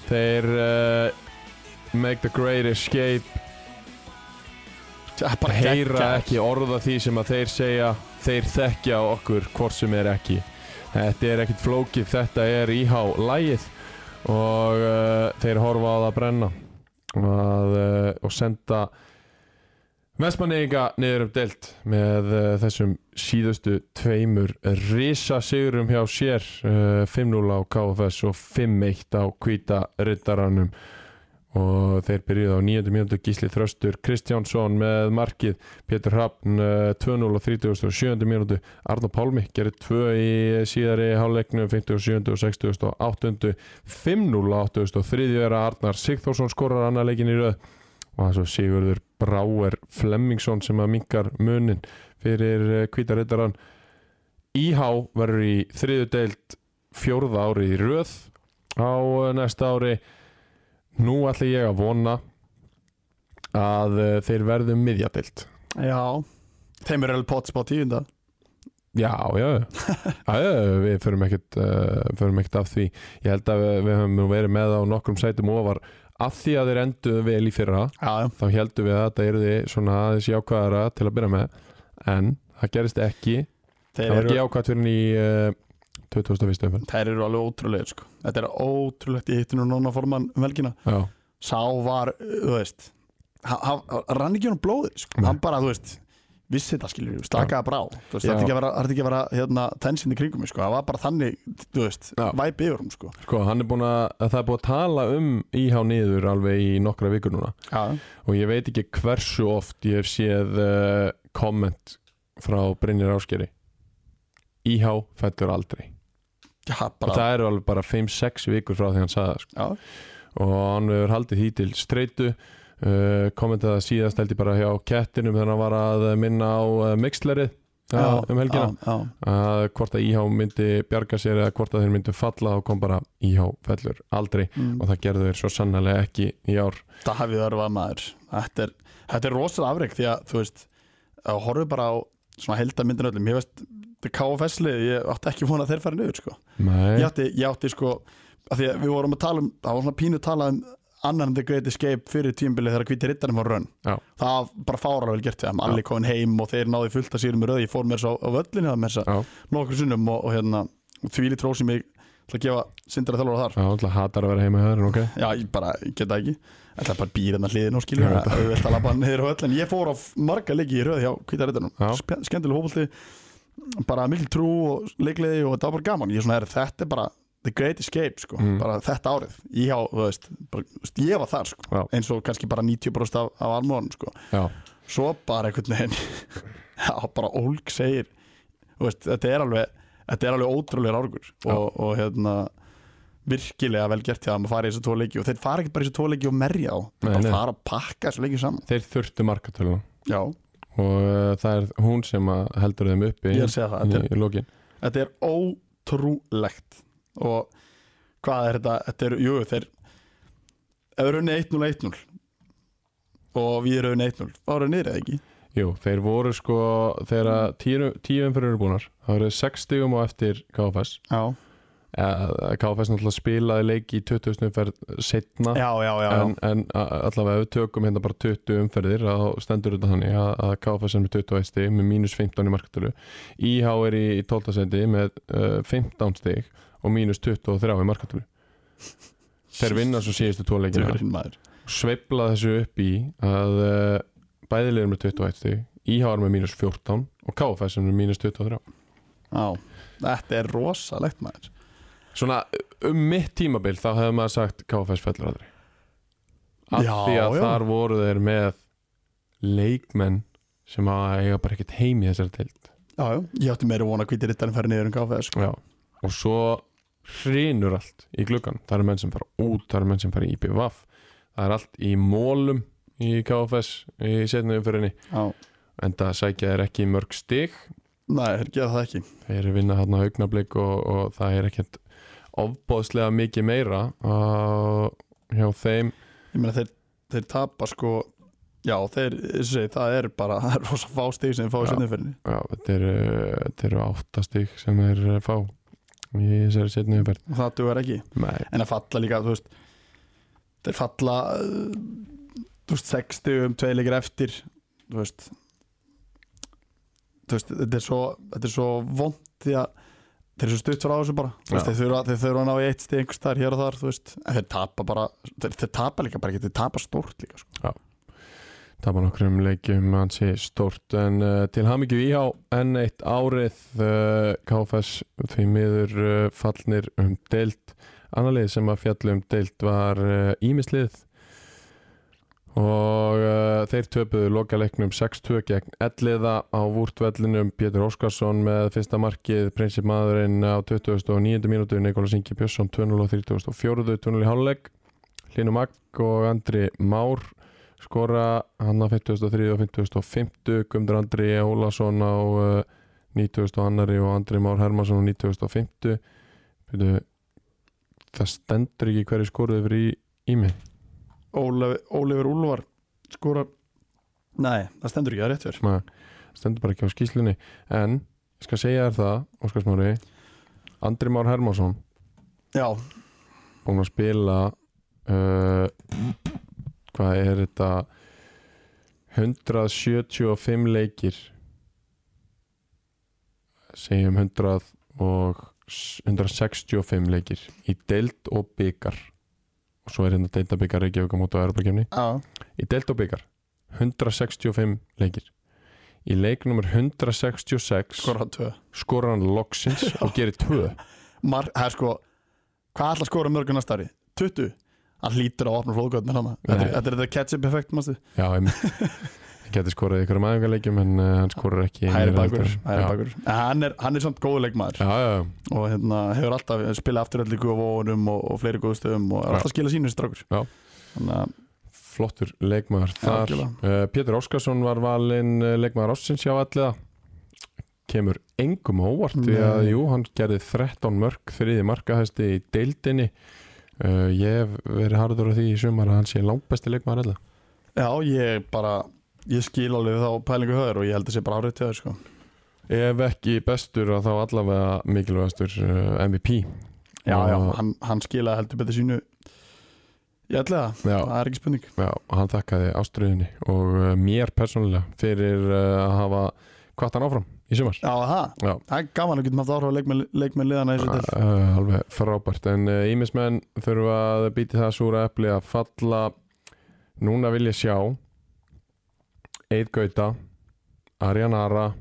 S1: þeir uh, make the great escape
S2: Það er bara
S1: heyra
S2: geggjað.
S1: ekki orða því sem að þeir segja þeir þekkja okkur hvort sem er ekki þetta er ekkit flókið þetta er íhá lægið og uh, þeir horfa á það að brenna að, uh, og senda Vestmanninga niður um deilt með uh, þessum síðustu tveimur risa sigurum hjá sér uh, 5-0 á KFS og 5-1 á kvíta riddaranum og þeir byrjuðu á 9. mínútu Gísli Þröstur Kristjánsson með markið Pétur Hrafn eh, 2-0 og 37. mínútu Arnó Pálmi gerir 2 í síðari háleiknum 57. og 60. og 80. 5-0 á 80. og 3. er að Arnar Sigþórsson skorar annar leikin í röð og það er svo Sigurður Bráer Flemmingsson sem að minkar munin fyrir kvítarittarann IH verður í þriðu deild fjórða ári í röð á eh, næsta ári Nú ætla ég að vona að eh, þeir verðum miðjadeild.
S2: Já, þeim eru alveg potts á tíunda
S1: Já, já, já, já, já, við förum ekkert, uh, förum ekkert af því. Ég held að við, við höfum nú verið með á nokkrum sætum ofar af því að þeir enduðu vel í fyrra,
S2: Já, já,
S1: þá heldum við að þetta eru svona aðeins jákvæðara til að byrja með, en það gerist ekki.
S2: þeir
S1: Það var
S2: eru,
S1: ekki jákvæðt fyrir henni í uh, 2001. umfell.
S2: þeir eru alveg ótrúleir sko. Þetta er ótrúlegt, ég hitti nú nonna formann um helgina
S1: Já,
S2: sá var, þú veist hann- hann hann rann ekki um blóði sko.
S1: Nei.
S2: hann bara, þú veist, vissi þetta skilur stakaði bara á, þú veist,
S1: Já.
S2: það er ekki að vera, þarf ekki að vera hérna, tensin í kringum, mig, sko, það var bara þannig þú veist,
S1: Já.
S2: væpi yfir hún, sko
S1: sko, hann er búin að, að það er búin að tala um íhá niður alveg í nokkra vikur núna.
S2: já,
S1: og ég veit ekki hversu oft ég hef séð uh, komment frá Brynjar Áskeri Íhá fættur aldrei
S2: já
S1: og
S2: bara,
S1: það eru alveg bara 5-6 vikur frá því hann sagði það, sko.
S2: já,
S1: og hann hefur haldið því til streitu uh, kommentaði það síðast held ég bara hjá kettinum þegar hann var að minna á uh, mixlerið
S2: já,
S1: uh, um helgina
S2: já, já,
S1: að hvort að Íhá myndi bjarga sér eða hvort að þeir myndu falla og kom bara Íhá fellur aldrei
S2: mm.
S1: og það gerðu þeir svo sannlega ekki í ár
S2: það hafið örfað maður þetta er, þetta er rosalega afreg því að, þú veist, að horfið bara á svona heldamyndin öllum, ég veist KFS-lið, ég átti ekki vona að þeir fara niður, sko
S1: Nei,
S2: ég átti, ég átti sko að því að við vorum að tala um, það var svona pínu að tala um annan en The Great Escape fyrir tímbilið þegar hvíti rittarinn var rönn
S1: Já.
S2: það var bara fárar vel gert við þeim, allir komin heim og þeir náði fullt að sýrum í röð, ég fór mér svo á völlinu það mér svo
S1: Já.
S2: nokkur sunnum og, og hérna og því líkt rósi mig til að gefa sindra þjálfara þar
S1: það var alltaf hatar að vera heima hjá þér, en ok
S2: Já, ég bara get það ekki Það er bara býr hennar hliðin og skilur
S1: Já,
S2: Það er auðvitað að labba niður á öll En ég fór á f- marga leiki í röð hjá
S1: Já.
S2: kvítarittunum Skemmtileg hófaldi Bara mikil trú og leikleði og þetta var bara gaman Ég er svona er þetta er bara The Great Escape sko,
S1: Mm.
S2: bara þetta árið ég, á, þú veist, bara, þú veist, ég var þar sko,
S1: Já.
S2: eins og kannski bara 90% af, af almóðan sko.
S1: já,
S2: svo bara einhvern veginn já, bara ólg segir þú veist, þetta er alveg þetta er alveg ótrúlega árgur og, og hérna virkilega vel gert hjá þeim að fara í þessu tvo leiki og þeir fara ekki bara í þessu tvo leiki og merja á þeir
S1: Nei,
S2: bara
S1: nei.
S2: fara að pakka þessu leiki saman
S1: þeir þurftu markatöluna
S2: já,
S1: og uh, það er hún sem að heldur þeim uppi
S2: ég
S1: í,
S2: er að segja það þetta er,
S1: í lokin
S2: þetta er ótrúlegt og hvað er þetta þetta er, jú, þeir ef við runni 1-0 1-0 og við erum 1-0 þá erum við niður eða ekki
S1: Jú, þeir voru sko þegar tíu, tíu umfyrir eru búnar það voru 60 um á eftir KFS
S2: já,
S1: Eh, KFS náttúrulega spilaði leik í 20. umferð setna
S2: já, já, já, já.
S1: en, en a- allavega ef við tökum hérna bara 20 umferðir að þá stendur þetta þannig að, að KFS er með 21 stig með mínus 15 í markatölu IH er í 12. seti með uh, 15 stig og mínus 23 í markatölu þeir vinna svo síðustu tvo leikina
S2: Djöfurinn maður.
S1: sveifla þessu upp í að uh, bæðilegir með 21 stig IH er með mínus 14 og KFS er með mínus 23
S2: Já, þetta er rosalegt maður
S1: svona um mitt tímabil þá hefði maður sagt KFS fellur aldrei af
S2: Já,
S1: því að
S2: já.
S1: þar voru þeir með leikmenn sem að eiga bara ekkert heim í þessari deild
S2: Já, já, ég átti meira vona hvíti rittarinn færi niður en gáfið sko.
S1: já. og svo hrinur allt í gluggan það eru menn sem fara út, það eru menn sem fara í IPVAF það er allt í mólum í KFS í setna umfyrinni
S2: Já,
S1: en það sækja þeir ekki í mörg stig
S2: nei, þeir gera það ekki
S1: þeir eru vinna hérna augnablik og, og það er ekkert ofbóðslega mikið meira uh, hjá þeim
S2: Ég meina þeir, þeir tapa sko Já, þeir, þessu segi, það er bara það er rosa fá stíg sem þeir fá í
S1: Já.
S2: setnumferðinni
S1: Já, þetta eru, þetta eru áttastík sem þeir eh, fá í þessari setni umferð.
S2: og það dugar ekki
S1: Nei,
S2: En að falla líka, þú veist þeir falla uh, þú veist, 60 um tvei leikir eftir þú veist þú veist, þetta er svo þetta er svo vond því að þeir eru svo stutt frá þessu bara þú veist,
S1: Já.
S2: þeir, þurfa, þeir þurfa að ná í eitt stig einhvers staðar hér og þar, þú veist en þeir tapa bara, þeir, þeir tapa líka bara ekki þeir tapa stórt líka, sko
S1: tapa nokkrum leikjum hansi stort en uh, til hamingju íhá enn eitt árið uh, KFS því miður uh, fallnir um deilt annarlið sem að fjallu um deilt var uh, Ímislið og uh, þeir töpuðu lokaleiknum 6-2 gegn Elliða á vúrtvellinum Pétur Óskarsson með fyrsta markið prinsip maðurinn á 29. mínútu Nikolas Ingi Björnsson 2-0 og 34. 2-0 í háluleik Linu Magg og Andri Már skora hann á 53 og 55 Gumdur Andri Ólason á uh, 90 og annari og Andri Már Hermansson á 90 og 50 Byrju, það stendur ekki hverju skoruðu fyrir í, í mig
S2: Ólef, Ólefur Úlvar skorar nei, það stendur ekki, það er rétt fyrir
S1: Nei, stendur bara ekki á skýslunni en ég skal segja þér það Óskar Smári Andri Már Hermansson
S2: já,
S1: búinn að spila uh, hvað er þetta 175 leikir segjum 100 og s- 165 leikir í deild og byggar og svo er hérna deilda byggar Reykjavík á móti á Europakefni
S2: já,
S1: í deild og byggar 165 leikir í leik nummer 166
S2: skorar hann tvö
S1: skorar hann loksins og gerir tvö
S2: Mar, það er sko hvað ætla að skora mörg á næsta ári? 20? hann hlýtur á að opna flóðgöðn með hana þetta
S1: Nei.
S2: er þetta er þetta catch-up effekt mástu
S1: Já, ég geti skorað í einhverjum aðingarleikjum en uh, hann skorar ekki í
S2: hægri
S1: meira
S2: bakur,
S1: heldur.
S2: hægri
S1: Já.
S2: bakur. En hann er, hann er samt góð leikmaður
S1: Já, já, já,
S2: og hérna, hefur alltaf spilað afturöldi góðvóðunum og, og fleiri góðstöðum og er
S1: Já.
S2: alltaf að skila sínu þessi strákur
S1: Já.
S2: þannig að
S1: flottur leikmaður þar uh,
S2: algjörlega.
S1: Pétur Óskarsson var valinn eh, leikmaður ásins hjá alliða kemur engum á óvart því að
S2: Nei.
S1: jú, hann gerði 13 mörg þriði markahæsti í deildinni uh, ég hef verið harður á því í sumar að hann sé langbesti leikmaður alliða
S2: já, ég bara ég skil alveg þá pælingu höður og ég held að sé bara árið til það sko.
S1: ef ekki bestur að þá allavega mikilvægastur uh, MVP
S2: já, já,
S1: Og-
S2: hann, hann skilaði heldur betur sínu ég ætla það,
S1: já,
S2: það er ekki spurning
S1: Já, og hann þakkaði ástriðinni og uh, mér persónulega fyrir uh, að hafa kvartan áfram í sumar.
S2: já, það,
S1: Já.
S2: það er gaman að getum haft áhrif á leikmenn leikmenn liðana í þessu til
S1: Uh, alveg frábært, en uh, ímismenn þurfa að býti það súra epli að falla. Núna vil ég sjá Eid Gauta, Arjan Ara eh,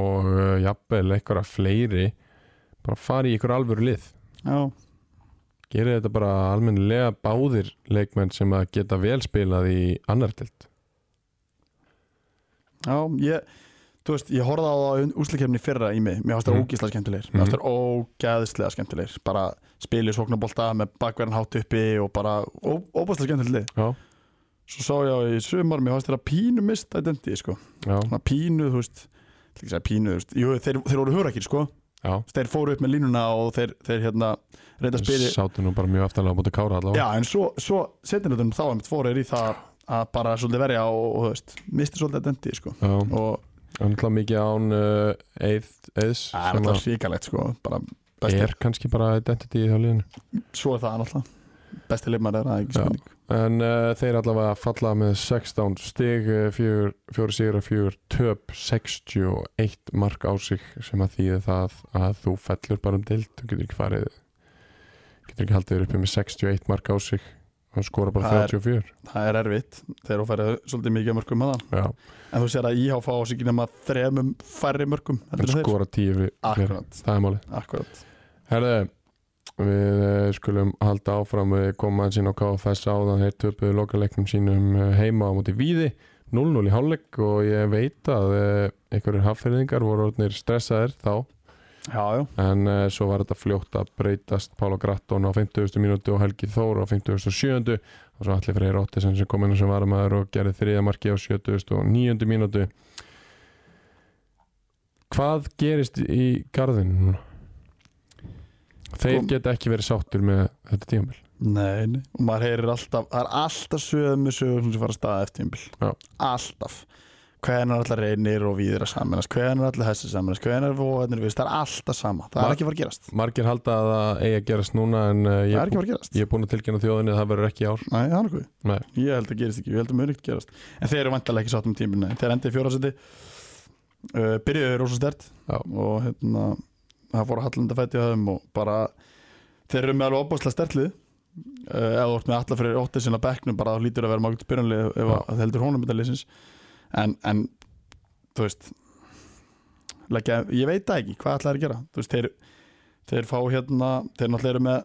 S1: og uh, jafnvel einhverja fleiri bara fara í ykkur alvöru lið.
S2: já,
S1: gerir þetta bara almennilega báðir leikmenn sem að geta vel spilað í annar tilt
S2: Já, ég, þú veist, ég horfði á það úslikefni fyrra í mig, mér fannst það
S1: Mhm.
S2: ógeðslega skemmtilegir mér fannst það ógeðslega skemmtilegir bara spilið sóknabólta með bakverðan hátt uppi og bara ó- ógeðslega skemmtilegir
S1: Já,
S2: svo sá ég á í sumar, mér fannst þeirra pínu mist identity, sko,
S1: já,
S2: svona pínu, þú veist ég ætla ekki að segja pínu, þú veist, jú, þeir, þeir voru hurakir, sko,
S1: já
S2: þeir fóru upp með línuna og þeir, þeir hérna, reynda að spila
S1: Sáttu nú bara mjög aftalega á búin að kára allavega
S2: Já, en svo, svo setjum þá einmitt fóru er í það að bara svolítið verja og, og þú veist, misti svolítið identity, sko
S1: Já,
S2: og
S1: öndla mikið án uh, eith- Eiðs
S2: það er
S1: sem
S2: alltaf ríkalegt, sko, bara
S1: að
S2: besti
S1: er kannski bara identity í þjóliðinu
S2: Svo er það náttúrulega Besti leikmaður er það ekki
S1: Já.
S2: spurning
S1: En uh, þeir allavega falla með 16 stig, eh, fjögur- fjórir sigra, fjögur töp, 61 mark á sig sem að þýði það að þú fellur bara um dild, þú getur ekki farið, getur ekki haldið þér uppi með 61 mark á sig og skora bara
S2: Það er-
S1: 34.
S2: Það er erfitt þegar þú færið svolítið mikið af mörgum að það
S1: Já,
S2: En þú sér að IHF á sig ekki nema þremum færri mörgum
S1: en
S2: heldur en þeir
S1: skora 10 fyrir, fyrir.
S2: Akkurat,
S1: það er málið.
S2: akkurat
S1: Herðu, við eh, skulum halda áfram við komum aðeins inn á KFS áðan þeir töpuðu lokaleiknum sínum eh, heima á móti víði 0-0 í hálfleik og ég veit að eh, einhverjir haffyrðingar voru orðnir stressaðir þá
S2: Já, já,
S1: en uh, svo var þetta fljótt að breytast Pála Gratton á 50. mínútu og Helgi Þór á 57. og svo allir fyrir Róttisen sem kom inn sem varumæður og gerði þriða marki á 79. mínútu Hvað gerist í garðin núna? Þeir
S2: Kom-
S1: geta ekki verið sáttur með þetta tímabil
S2: nei, nei Og maður heyrir alltaf, það er alltaf sögum með sögum sem fara að staða eftir tímbil
S1: Já.
S2: Alltaf Hvenær allar reynir og viðir að saminast Hvenær allar hessi saminast Hvenær vóðarnir viðst Það er alltaf sama Það
S1: Ma-
S2: er ekki að fara að gerast
S1: Margir halda að það eigi að gerast núna en uh,
S2: Það er
S1: ég,
S2: ekki að fara að gerast
S1: ég er búin að tilkynna þjóðinni að það verður ekki í ár
S2: Nei, það er nokkuð
S1: Nei.
S2: Ég held að gerist ekki, ég held að mjög nýtt gerast En þeir eru vantarlega ekki sátt um tíminu Þeir endið fjóraðsæti uh, Byrjuðu rosa stert
S1: Já.
S2: Og hérna, það fór að hallenda fæti á þeim Og bara, þeir eru með alveg opaslega stertlið uh, Ef þú ert með allar fyrir óttið sinna bekknum Bara þá lítur að vera mágilt spyrjanlið Ef
S1: Já.
S2: að það heldur honum þetta liðsins En, en, þú veist leggja, Ég veit það ekki, hvað ætlaði að gera Þú veist, þeir, þeir fá hérna Þeir náttúrulega eru með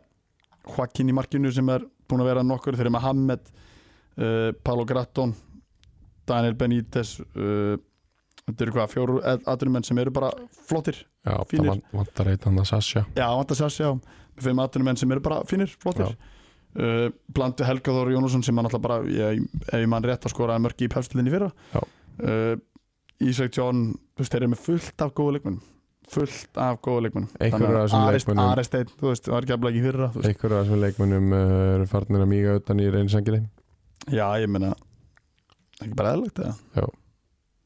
S2: Joaquin í markinu sem er búin að vera nokkur þeir eru með Hamed uh, Pálo Gratton Daniel Benítez uh, þetta eru hvað, fjóru aðurumenn sem eru bara flottir,
S1: Já, það
S2: Fínir.
S1: van- vantar eitt hann að Sasha
S2: já, vant að sér sér við fimm aðurumenn sem eru bara fínir, flottir
S1: Já.
S2: uh, blandu Helga Þór Jónusson sem hann alltaf bara, ég, ef ég mann rétt að skoraði mörki í pefstilinni fyrra
S1: Já.
S2: uh, Ísak John, þú veist, þeir eru með fullt af góða leikmennum fullt af góða leikmennum
S1: Einhverjir af þessum leikmönnum-
S2: Aristein, þú veist, það var ekki að blæki fyrra þú veist.
S1: Einhverja af þessum leikmönnum eh, eru farnir að míga utan í reynsangirinn
S2: Já, ég meina ekki bara eðlagt
S1: Já.
S2: eða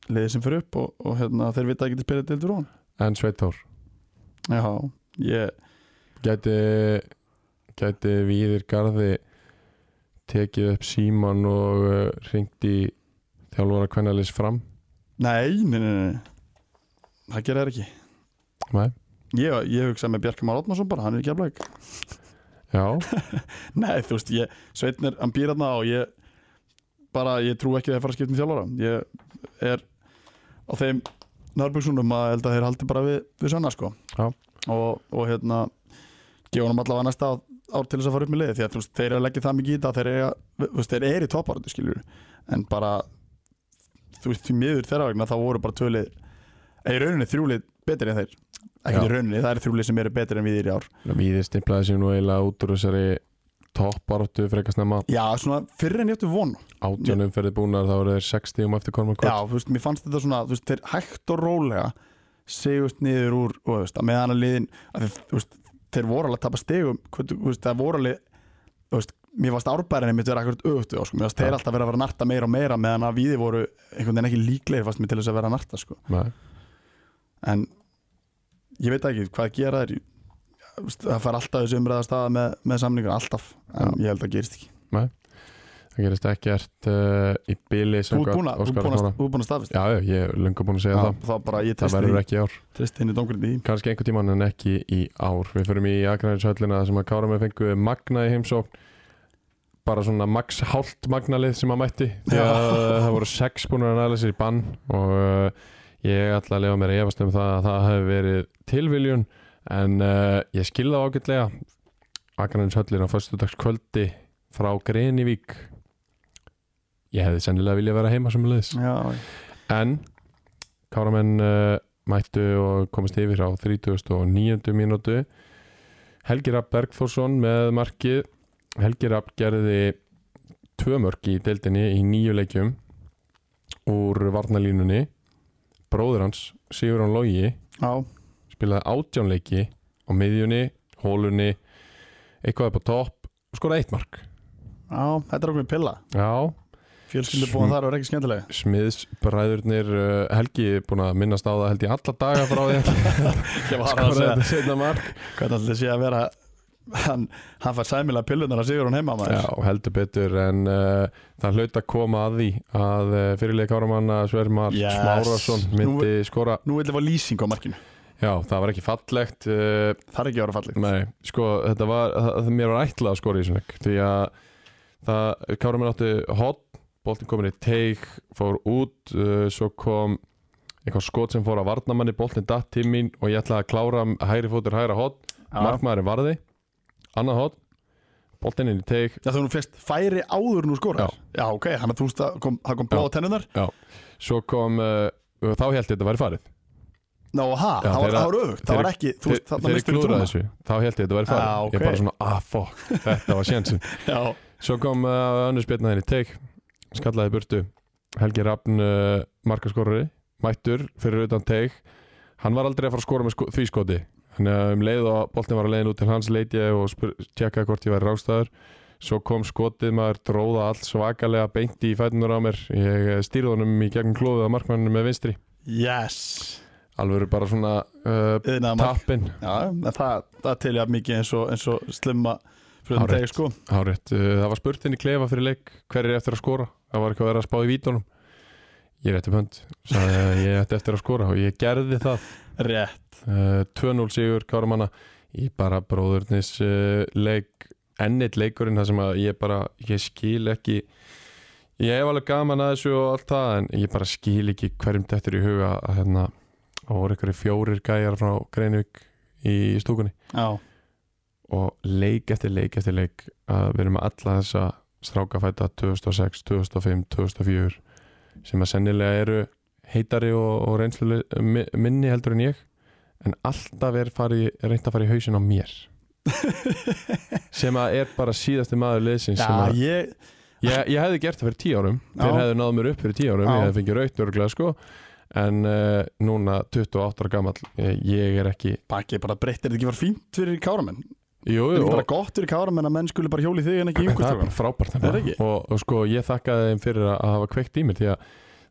S2: liðið sem fyrir upp og, og hérna, þeir vita ekki að spila til drón
S1: En Sveit Þór
S2: Já, ég,
S1: Gæti, gæti Víðir Garði tekið upp síman og uh, ringt í þjálfara kvennalis fram
S2: nei, nei, nei, nei það gera þeir ekki
S1: Nei.
S2: Ég, ég hugsa með Bjarka Már Átnarsson bara, hann er ekki að blæk
S1: Já,
S2: Nei, þú veist, ég, Sveitnir, hann býr þarna og ég bara, ég trú ekki að þeir fara að skipta um þjálfara ég er á þeim nærbjörgsunum að held að þeir haldi bara við, við sanna sko
S1: Já.
S2: og, og hérna gefa honum allavega næsta á- ár til þess að fara upp með liði því að þú veist, þeir eru að leggja það mikið í þetta þeir eru, þú veist, þeir eru í topparöndu skilur en bara þú veist, því miður þeirra vegna þá voru bara tölið eða í rauninni þrjúlið betri en þeir ekki
S1: Já.
S2: í rauninni, það eru þrjúlið sem eru betri en við í ár
S1: Víðir stimplaði sér nú eiginlega út úr þessari topparáttu frekar snemma
S2: Já, svona fyrir en ég ættu von
S1: átjónum fyrir búnar þá eru þeir 60 um eftir Kormann
S2: Já, þú veist, mér fannst þetta svona, þú veist, þeir hægt og rólega segust niður úr og þú veist, að meðan að liðin að þeir, þú veist, þeir voru alveg að tapa stegum hvað, þú veist, það voru alveg þú veist, mér fannst árbærinni mitt vera ekkert auðvitað sko, mér fannst þeir alltaf vera að vera að narta meira og meira meðan að viði voru einhvern veginn ekki líklegir fannst mér til þess að vera að narta, sko
S1: Nei,
S2: en ég veit ekki hvað gera þeir ég- þú veist, það fær alltaf þessu umræða staða með, með samningur, alltaf en ég held að það gerist ekki
S1: það gerist ekkert uh, í bili
S2: Þú ert
S1: samkvæmt
S2: búin að- þú ert
S1: Óskari
S2: búin að-
S1: Smára.
S2: þú ert búin að staðfesta
S1: Já, já, ég er löngu búin að segja
S2: Já,
S1: það
S2: þá bara ég
S1: Það
S2: treysti
S1: verður
S2: því-
S1: ekki í ár
S2: treysti henni dómgrindi í
S1: kannski einhvern tímann en ekki í ár við förum í Akranjshöllina sem að Kára með fengu magna í heimsókn bara svona max hálft magnalið sem að mætti því að
S2: Já.
S1: það voru sex búin að næla sér í bann og uh, ég ætla að lifa mér að efast eh, um það að það hefur verið tilviljun en uh, ég skil það ágætlega Akranins höllin á föstudagskvöldi frá Grenivík ég hefði sennilega vilja vera heima sem leðis
S2: já,
S1: en Káramenn uh, mættu og komist yfir á 39. mínútu Helgi Rapp Bergþórsson með markið Helgi Rapp gerði tvö mörk í deildinni í nýju leikjum úr varnalínunni bróður hans Sigurðan Lógi
S2: já,
S1: spilaði átjánleiki á miðjunni, hólunni eitthvað upp á topp og skoraði eitt mark
S2: já, þetta er okkur pilla
S1: Já,
S2: fjölskyldu búin þar var ekki skemmtileg
S1: smiðsbræðurnir uh, Helgi er búin að minnast á það held ég alla daga frá því að
S2: ég var að
S1: skoraði
S2: segja,
S1: þetta setna mark
S2: hvernig allir sé að vera hann, hann fær sæmilega pillunar að sigur hún heima maður
S1: Já, heldur betur en uh, það hlaut að koma að því að uh, fyrirleik áramanna Svermar
S2: Yes.
S1: Smárasson myndi skora
S2: nú vil ég fá lýsing á markinu
S1: Já, það var ekki fallegt uh,
S2: það er ekki að vera fallið
S1: Nei, sko, þetta var það, mér var ætlað að skora í þessum leik því að það, Káramann átti hot, boltin komin í teik fór út, uh, svo kom eitthvað skot sem fór að varnamanni boltin datt til mín og ég ætlaði að klára hægri fótur hægra hot,
S2: já,
S1: markmaðurinn varði annað hot, boltin inn í teik
S2: Já, þú fyrst færi áður nú skorar
S1: Já.
S2: Já, ok, hann að þú veist að kom, það kom blóð á tennunar
S1: svo kom, uh, og þá held ég þetta væri farið
S2: Ná, ha,
S1: Já,
S2: það var,
S1: þeirra-
S2: það var öfugt Það var ekki, þú veist,
S1: Þe-
S2: þarna
S1: þegar ég
S2: mistur þú
S1: klúðraði
S2: trúna
S1: þessu, þá held ég þetta væri farið ég
S2: Já, ok.
S1: bara svona, ah fuck, þetta var sjensin
S2: Já,
S1: Svo kom uh, önnur spilnaðin í teik Skallaði burtu Helgi Rafn uh, markaskorari Mættur fyrir utan teik Hann var aldrei að fara að skora með sko því skoti Þannig að um leið og boltin var að leiðin út til hans Leit ég og spyr- tjekkaði hvort ég væri rástaður Svo kom skotið maður Dróða allt svakalega beint í fætunur á mér Ég eh, stýrði honum í gegnum klóðið Að markmanninu með vinstri
S2: yes
S1: Alveg bara svona uh,
S2: Yðnaðar mark.
S1: tappinn
S2: Já, en það, það til ég að mikið eins og, eins og slimma fyrir
S1: Hárrétt.
S2: þetta degi sko
S1: Hárétt, uh, það var spurtin í klefa fyrir leik hver er eftir að skora, það var eitthvað að vera að spá í vítunum ég er eftir pönd sagði að ég ætti eftir að skora og ég gerði það
S2: Rétt,
S1: uh, 2-0 sigur Káramanna í bara bróðurnis uh, leik ennit leikurinn þar sem að ég bara ég skil ekki ég hef alveg gaman að þessu og allt það en ég bara skil ekki hverjum dettur í huga að hérna, það voru einhverju fjórir gæjar frá Greinvík í stúkunni
S2: já,
S1: og leik eftir leik eftir leik að við erum með alla þessa strákafæta 2006, 2005, 2004 sem að sennilega eru heitari og, og reynslu minni heldur en ég en alltaf er fari, reynt að fara í hausin á mér sem að er bara síðasti maður liðsins
S2: já
S1: sem að
S2: ég,
S1: Ég, ég hefði gert það fyrir tíu árum Þeir
S2: Já.
S1: hefðu náð mér upp fyrir tíu árum
S2: Já.
S1: Ég hefði fengið raut örglega sko En uh, núna 28 ára gamall eh, Ég er ekki
S2: bakið bara breytt, er þetta ekki bara fínt fyrir káramenn?
S1: Jú, jú,
S2: Er þetta ekki
S1: og-
S2: bara gott fyrir káramenn að menn skuli bara hjóli þig en ekki sko.
S1: Það er
S2: yngur
S1: bara frábært
S2: Er það ekki?
S1: nefnilega. og, og sko ég þakkaði þeim fyrir að að hafa kveikt í mér því að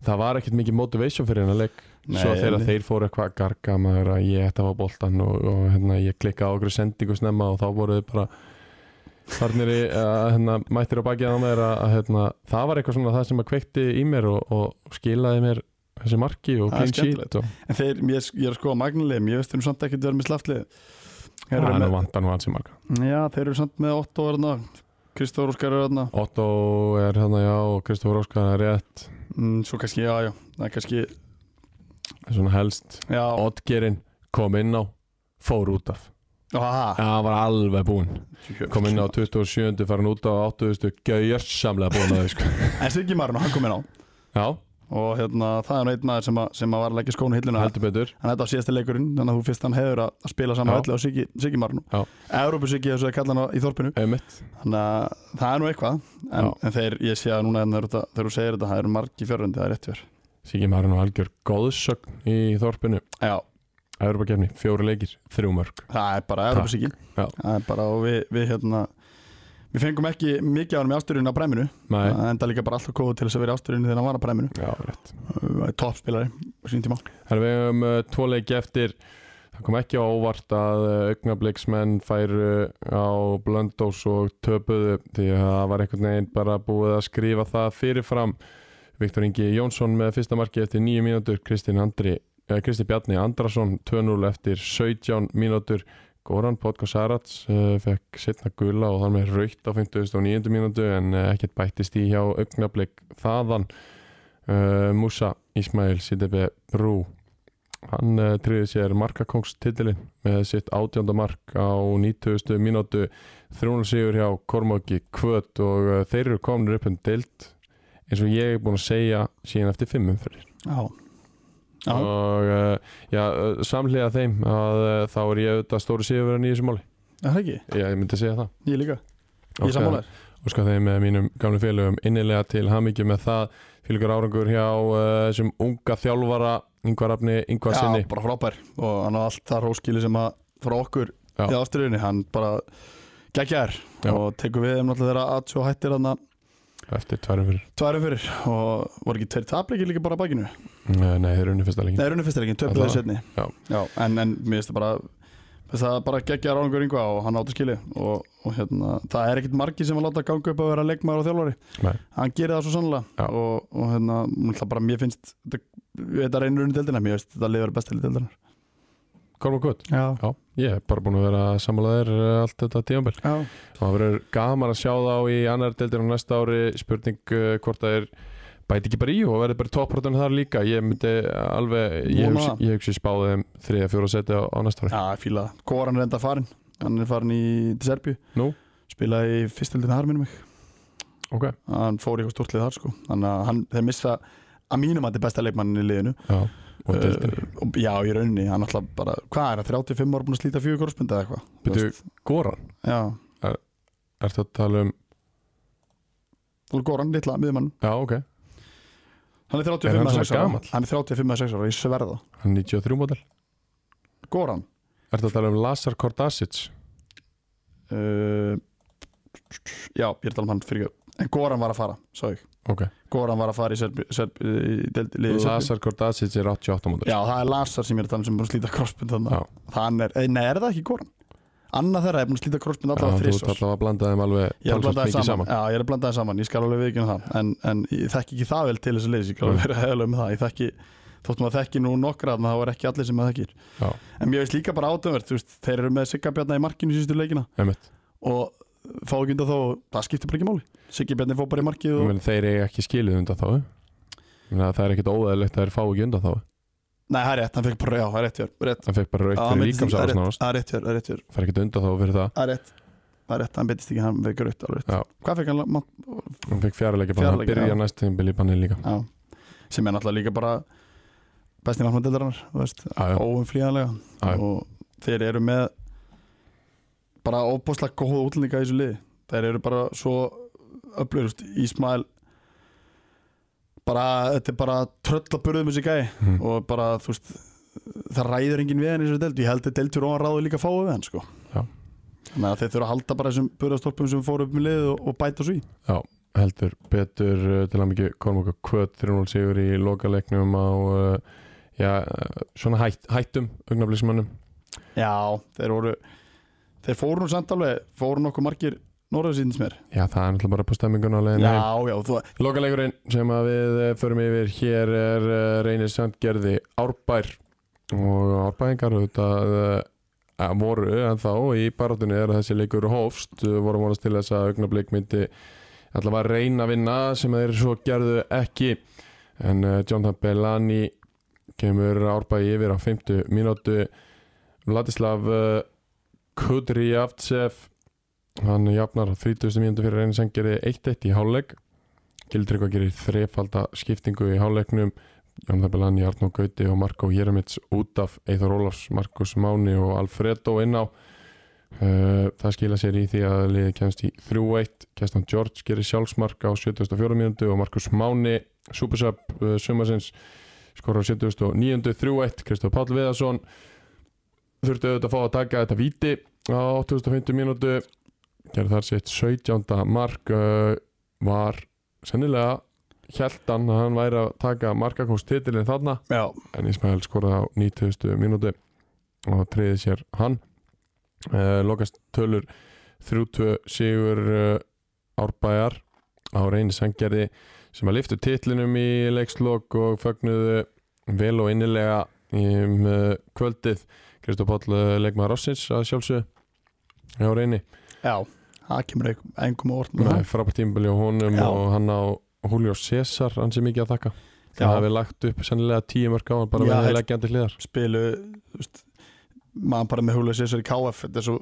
S1: það var ekkert mikið motivation fyrir hennar leik
S2: Nei,
S1: svo þegar
S2: nei.
S1: þeir fóru eitthvað að garga maður að ég ætti að hafa boltan og, og hérna, ég klikkaði á okkur sendingu snemma og þá voru þau bara farnir í að hérna, mættir á bakið á mér að, að hérna, það var eitthvað svona það sem að kveikti í mér og, og skilaði mér þessi marki og
S2: Það er
S1: clean sheet og
S2: En þeir, ég, ég er sko að magnulegum, ég veist þeir eru samt ekkert verið með slaftlið Þeir
S1: það
S2: eru
S1: er nú
S2: með-
S1: vantan vansi marka
S2: Já, þeir eru samt með 8 orðna Kristóður Óskar er orðna
S1: Otto er hérna já og Kristofur Óskar er rétt
S2: mm, Svo kannski, já, já, það er kannski
S1: svona helst
S2: Já,
S1: Oddgerinn kom inn á fór út af
S2: aha,
S1: Já, hann var alveg búinn kom inn á 27. farin út á 80. gjörsamlega búinn að þau sko
S2: En Siggi Marino, hann kom inn á
S1: Já,
S2: Og hérna, það er nú einn maður sem, að, sem að var að leggja skónu hilluna
S1: heldur betur
S2: En þetta var síðasta leikurinn, þannig að þú fyrst hann hefur að, að spila saman
S1: Já.
S2: öllu á Siggi, Siggi Marino
S1: Já.
S2: Európu Siggi, þessu að kalla hann á- í þorpinu
S1: Einmitt.
S2: Þannig að það er nú eitthvað En,
S1: Já.
S2: en þeir, ég sé að núna þegar þú- þegar þú segir þetta, það eru margi fjörðandi, það er rétt fjör
S1: Siggi maður nú algjör góðsögn í þorpinu
S2: Já,
S1: Evropakefni, fjóri leikir, þrjú mörg
S2: það er bara Európu Siggi
S1: Já.
S2: Það er bara, og við, við hérna Við fengum ekki mikið á hann með ásturinn á præminu
S1: Nei,
S2: Það enda líka bara alltaf góð til þess að vera í ásturinn þegar hann var á præminu
S1: já, rétt
S2: Uh, Toppspilari, á sínum tíma
S1: Það er við um uh, tvo leiki eftir Það kom ekki á óvart að uh, augnabliksmenn færu á Blöndós og töpuðu því að það var einhvern veginn bara búið að skrifa það fyrirfram Viktor Ingi Jónsson með fyrsta marki eftir 9 mínútur Kristinn Andri eh, Kristinn Bjarni Andrason 2-0 eftir 17 mínútur Goran Potko Sarats uh, fekk setna gula og þar með raukt á 59. mínútu en uh, ekkert bættist í hjá augnablik þaðan uh, Musa Ismail Sidebe Brú hann uh, tryggði sér markakongstitilin með sitt átjönda mark á 90. mínútu þrjónu sigur hjá Kormáki Kvöt og uh, þeir eru komnir upp um deild eins og ég er búin að segja síðan eftir fimm umferðir
S2: Já, já,
S1: og uh, já, uh, samlega þeim að uh, þá er ég auðvitað stóri sigurverðan í þessu máli
S2: er það ekki?
S1: já, ég myndi segja það
S2: Ég líka, ég
S1: Óska-
S2: sammála þér
S1: Óska þeim með mínum gamlu félögum innilega til hamingju með það fylgur árangur hjá uh, þessum unga þjálfara yngvarafni, yngvarsinni
S2: Já, bara frábær og hann á allt það róskili sem að frá okkur
S1: Já.
S2: í ástriðinni, hann bara geggjar
S1: Já.
S2: og tekur við þeim náttúrulega þegar að svo hættir hann að
S1: eftir tværum fyrir
S2: tværu fyrir og voru ekki tveir tapleikir líka bara að bakinu Nei,
S1: Nei, Eh, nei, þeir eru unni fyrsta leikin
S2: runni fyrsta leikin,
S1: Alla
S2: töpuðu
S1: vega.
S2: setni
S1: Já.
S2: en, en mér finnst það bara finnst það bara geggjar árangur yngva og hann átti skili og, og hérna, það er ekkit margi sem að láta ganga upp að vera leikmaður og þjálfari
S1: Nei.
S2: hann gerir það svo
S1: Já.
S2: sannlega og, og hérna, náttúrulega bara mér finnst þetta, þetta reynir runni deildina, mér finnst þetta lifur besta lið deildina
S1: Korma Kutt
S2: Já,
S1: Já, ég er bara búin að vera sammálaðir allt þetta tíðanbel
S2: já
S1: og það verður gaman að sjá þá í annar deildir á næsta ári spurning uh, hvort það er bæti ekki bara í og verður bara toppröðun þar líka ég myndi alveg ég
S2: Vona
S1: hugsi,
S2: það.
S1: ég hugsi spáði þeim þriðja fjóra seti á, á næsta ári
S2: Já, ég fíla það. Koran er enda farin Hann er farin í til Serbíu
S1: Nú?
S2: Spilaði í fyrstöldinu þar minnum mig
S1: ok,
S2: Hann fór í eitthvað stórtlið þar sko Þannig að hann, þeir missa að mínum að þetta besta leikmannin í liðinu
S1: já og deildinni
S2: uh, og- Já, í rauninni Hann alltaf bara, hvað er það, 35 ára búin að slíta fjögur korrespunda eða eitthvað Þú
S1: Bíddu,
S2: veist,
S1: Goran,
S2: Já,
S1: ertu að tala um
S2: þú er Koran, litla, miðjumann
S1: já ok,
S2: Hann er
S1: Er
S2: 35
S1: hann
S2: að
S1: svona
S2: 6 ára
S1: gamall?
S2: Hann er 35 að 6 ára, ég sverða
S1: hann er 93 model
S2: Koran
S1: ertu að tala um Lazar Kordasic
S2: uh, Já, ég er að tala um hann fyrir En Koran var að fara, sá ég
S1: ok,
S2: Koran var að fara í Serbíu Serbi, í deild- liði Serbíu.
S1: Lazar Kordasic er 88 model
S2: Já, það er Lazar sem ég er þannig sem er búin að slíta crossbind
S1: Já.
S2: þannig Þann er, eh, nei, er það ekki Goran? Annað þeirra er búin að slíta crossbind
S1: þú
S2: allavega
S1: ert
S2: þrissar
S1: alltaf að blanda þeim alveg
S2: Ég er að
S1: talsvert
S2: blanda það
S1: mikið
S2: saman. Já, ég er að blanda það saman, ég skal alveg viðkynna það en, en ég þekki ekki það vel til þessu liðs, ég skal alveg vera heðalega með það Ég þekki, þótt maður þekki nú nokkra þannig að það var ekki allir sem maður þekkir
S1: Já.
S2: En mér veist líka bara átömvert, þú veist, þeir eru með Sigga Bjarnar í markinu í síðustu leikina
S1: Einmitt.
S2: og fá ekki undan þó, það skiptir bara ekki máli Siggi Bjarni fór bara í markið
S1: Ég
S2: og,
S1: meina, þeir eiga ekki skilið undan þá það er ekkit óæðilegt að þeir fá ekki undan þá
S2: nei, það er rétt, hann fekk bara, já, það er rétt, hjá þér, rétt.
S1: hann fekk bara
S2: Já,
S1: raukt fyrir
S2: hann meiddist- það
S1: líkamsára
S2: er rétt,
S1: snáðast
S2: það er rétt hjá þér, það er rétt hjá þér.
S1: fær ekkit undan þá fyrir það
S2: Það er rétt Það er rétt, hann betist ekki, hann við gröitt alveg
S1: Já.
S2: rétt. Hvað fekk hann langt?
S1: hann fekk fjárleiki bara hann
S2: Fjögurra leikja,
S1: byrja
S2: já.
S1: næst þeim byrja í bannið líka
S2: Já, sem er náttúrulega líka bara besti markmandeldarinnar, þú veist
S1: Já, já. Já,
S2: óumflýjanlega
S1: já.
S2: og þeir eru með bara óbúslega góða útlendinga í þessu liði þeir eru bara svo upplöðust Ísmael bara, þetta er bara tröll að burðum þessi gæi
S1: Mhm.
S2: og bara, þú veist það ræður enginn við hann í þessu deild ég held að deildur og hann ráður líka fáið við hann sko.
S1: Já.
S2: þannig að þeir þurfa að halda bara þessum burðastólpum sem fóru upp með liðið og, og bæta svo í
S1: heldur betur uh, til að mikið Kormáka kvöt 3-0 sigur í lokaleiknum á uh, já, uh, svona hætt, hættum augnablismannum
S2: Já, þeir voru þeir fóru nú samt alveg, fóru nokkuð margir norðarsýndins mér
S1: já það er náttúrulega bara på stemminguna á leiðinu heim.
S2: Já, já, þú,
S1: Lokaleikurinn sem að við eh, förum yfir hér er eh, reynir sandgerði Árbær og Árbæðingar auðvitað eh, að voru en þá í barátunni er þessi leikur hófst eh, voru vonast til þess að augnablik myndi allavega að reyna að vinna sem þeir svo gerðu ekki en eh, Jonathan Bellani kemur Árbæði yfir á 50 mínútu Vladislav eh, Kudrijavtsev hann jafnar á 30 mínútu fyrir reynir sandgerði 1-1 í hálfleik Gildrykva gerir þrefalda skiptingu í hálfleiknum Jón Þabelani, Arnó Gauti og Marko Hjeramits út af Eithor Ólafs, Markus Máni og Alfredo inn á Uh, það skila sér í því að liðið kemst í 3-1, Kestan George gerir sjálfsmark á 74 mínútu og Markus Máni Supersub uh, sumasins skora á 79 3-1, Kristof Páll Viðarsson þurfti auðvitað að fá að taka þetta víti á 85 mínútu gerði þar sitt 17. mark uh, var sennilega held hann að hann væri að taka markakóst titilin þarna
S2: já,
S1: en Ismael skoraði á 90. mínúti og treyði sér hann uh, lokast tölur 32 sigur uh, árbæjar á reyni sangerði sem að liftu titlinum í leikslokk og fögnuðu vel og innilega í um, eh, kvöldið Kristof Páll eh, leikmaður Rossins að sjálfsögðu á reyni
S2: já það kemur einhver- engum á orð
S1: Nei, frábært tímbili á honum
S2: Já.
S1: og hann á Julio César hann sem mikið að þakka
S2: Já.
S1: það hefði lagt upp sennilega tíu mörg á hann bara
S2: Já,
S1: með
S2: heilt-
S1: leggjandi hliðar
S2: spilu þú veist, maður bara með húlega sér sér í KF þetta er svo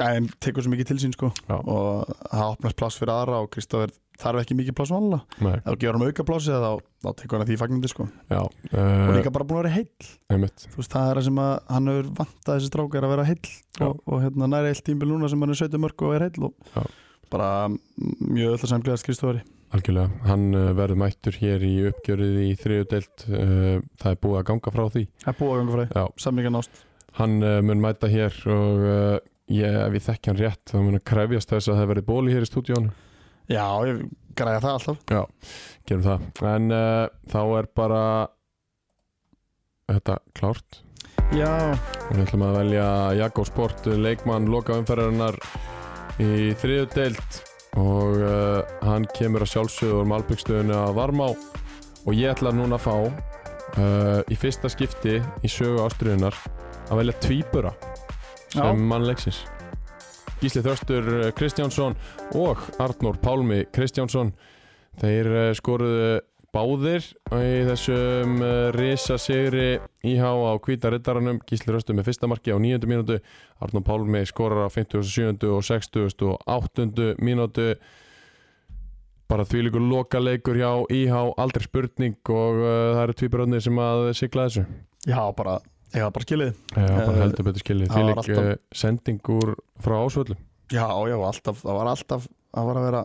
S2: gæðin tekur svo mikið til sín sko
S1: Já.
S2: og það opnast pláss fyrir aðra og Kristoffer þarf ekki mikið pláss vanlega
S1: Nei,
S2: ef þú gefur hann auka plássi þá, þá tekur hann að því fagnandi sko
S1: já
S2: og
S1: uh,
S2: líka bara búin að vera heill
S1: einmitt,
S2: þú veist það er það sem að hann hefur vantað þessi stráka er að vera heill
S1: Já.
S2: og, og hérna næri heill tímbil núna sem hann er 17 mörg og er heill og
S1: Já.
S2: bara mm, mjög öll að samgleðast Kristofari
S1: algjörlega Hann uh, verður mættur hér í uppgjörið í þriðudelt uh, Það er búið að ganga frá því
S2: það er búið að ganga fræði,
S1: Já,
S2: samlingar nást
S1: hann uh, mun mæta hér og uh, ég, ef ég þekki hann rétt þá mun að krefjast þess að það verði bóli hér í stúdíónu
S2: já, ég græða það alltaf
S1: Gerum það En uh, þá er bara þetta klárt
S2: já,
S1: og við ætlum að velja Jakko Sport leikmann lokaumferðarinnar í þriðu deild og uh, hann kemur að sjálfsögur malbyggstöðunni að varmá og ég ætla núna að fá uh, í fyrsta skipti í sögu ástriðunar að velja tvíbura
S2: já,
S1: sem mann leiksins Gísli Þörstur eh, Kristjánsson og Arnór Pálmi Kristjánsson þeir eh, skoruðu báðir í þessum risa sigri íhá á kvítarittarannum Gísli Þörstur með fyrsta marki á 9. mínútu Arnór Pálmi skorar á 57. og 60. og 8. mínútu bara þvílíkur lokaleikur hjá IH aldrei spurning og uh, það eru tvíbröðnir sem að sigla þessu
S2: já, bara ég hafa bara skilið
S1: Já, bara
S2: Eh,
S1: heldur betur skilið
S2: það
S1: Því
S2: var
S1: lík
S2: alltaf-
S1: alltaf... sendingur frá ásvöldum
S2: Já, já, alltaf, það var alltaf að var að vera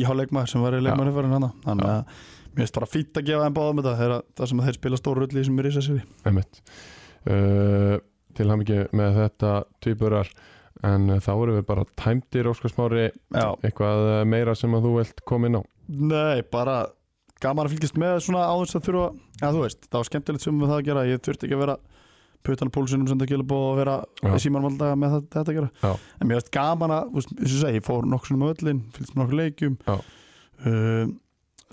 S2: íháleikmaður sem var í leikmaður fyrir hann þannig að mér finnst bara fýtt að gefa þeim báðum þetta þegar það sem að þeir spila stóru rulli sem er í sér
S1: Einmitt. Uh, til hann ekki með þetta tvíburar en uh, þá erum við bara tæmdir Óskar Smári
S2: Já,
S1: eitthvað uh, meira sem að þú vilt koma inn á
S2: nei, bara gaman að fylgjast með svona áður sem þurfa Já, þú veist, það var skemmtilegt sem við það að gera ég þurfti ekki að vera putan á pólsunum sem það gilur búið að vera
S1: Já.
S2: í símanum alltaf með þetta, þetta að gera
S1: Já.
S2: en mér finnst gaman að, þú veist, eins og ég segi, ég fór nokkur sinnum á öllin, fylgst með nokkur leikjum
S1: Já.
S2: uh,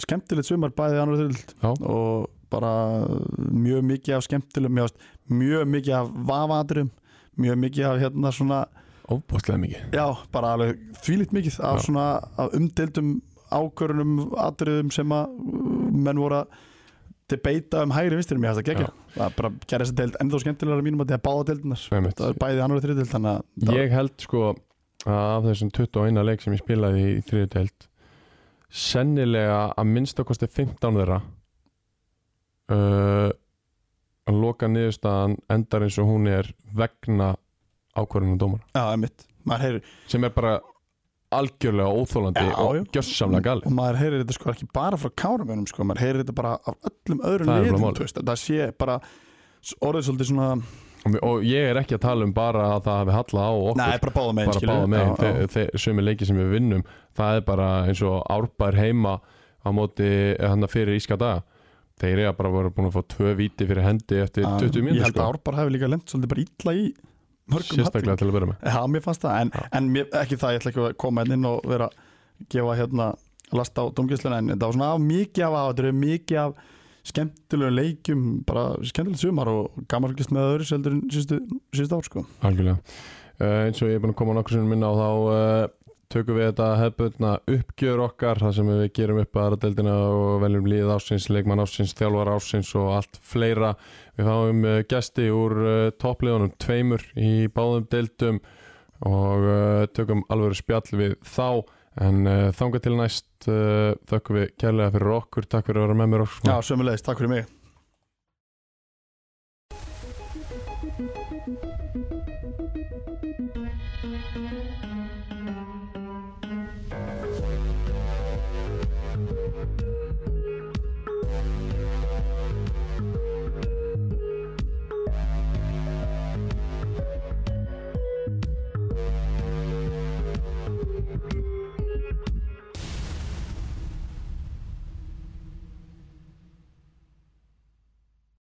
S2: skemmtilegt sumar bæði annar þurrld
S1: Já,
S2: og bara mjög mikið af skemmtilegum mjög, mjög mikið af vafadrum mjög mikið af hérna svona
S1: óbústlega mikið
S2: já, bara alveg þvílitt mikið af
S1: Já.
S2: svona af umdeildum ákvörunum atriðum sem að uh, menn voru að debata um hægri vinstri mér hægt að gegja það er bara gera þessa deild ennþá skemmtilegar að mínum að það er báða deildunar
S1: Einmitt.
S2: það er bæði annar og þriði deild þannig að það-
S1: Ég held sko að af þessum 21 leik sem ég spilaði í þriðuteld sennilega að minnst okkosti 15 þeirra uh, að loka niðurstaðan endar eins og hún er vegna ákvörðunum dómara
S2: já, einmitt maður heyrir
S1: sem er bara algjörlega óþólandi
S2: Já, já.
S1: og gjössamlega gali
S2: og maður heyrir þetta sko ekki bara frá káramönum sko, maður heyrir þetta bara af öllum öðrum
S1: Það er
S2: liðum,
S1: bara málið.
S2: þú veist, að það sé bara s- orðið svolítið svona,
S1: og, og ég er ekki að tala um bara að það hafi hallað á okkur sko.
S2: nei, bara báða megin
S1: bara
S2: skilur
S1: báða
S2: við.
S1: megin
S2: Já, já.
S1: Þe- þe- sömu leiki sem við vinnum það er bara eins og árbær heima á móti eh, hann fyrir íska daga þeir eru bara voru búin að fá tvö víti fyrir hendi eftir
S2: Já,
S1: 20
S2: ég
S1: mínútur
S2: held að
S1: sko.
S2: Árbar hefur líka lent svolítið bara illa í mörgum
S1: sérstaklega til að byrja með
S2: Já, mér fannst það, en, en mér, ekki það, ég ætla ekki að koma hérna inn og vera að gefa hérna lasta á domgjölsluna, en þetta var svona af mikið af aðatrið, mikið af skemmtilegum leikjum, bara skemmtilegt sumar og gaman fylgist með öðru seldur en síðustu, síðustu ár, sko.
S1: algjörlega uh, eins og ég er búin að koma nokkur sinnum inn á þá uh, tökum við þetta hefbundna uppgjör okkar þar sem við gerum upp aðra deildina og veljum lið ásins, leikmann ásins, þjálfar ásins og allt fleira við fáum uh, gesti úr uh, toppliðunum tveimur í báðum deildum og uh, tökum alveg spjall við þá en uh, þanga til næst uh, þökkum við kærlega fyrir okkur takk fyrir að vera með mér okkur
S2: Já, sömulegis, takk fyrir mig.
S5: Thank you.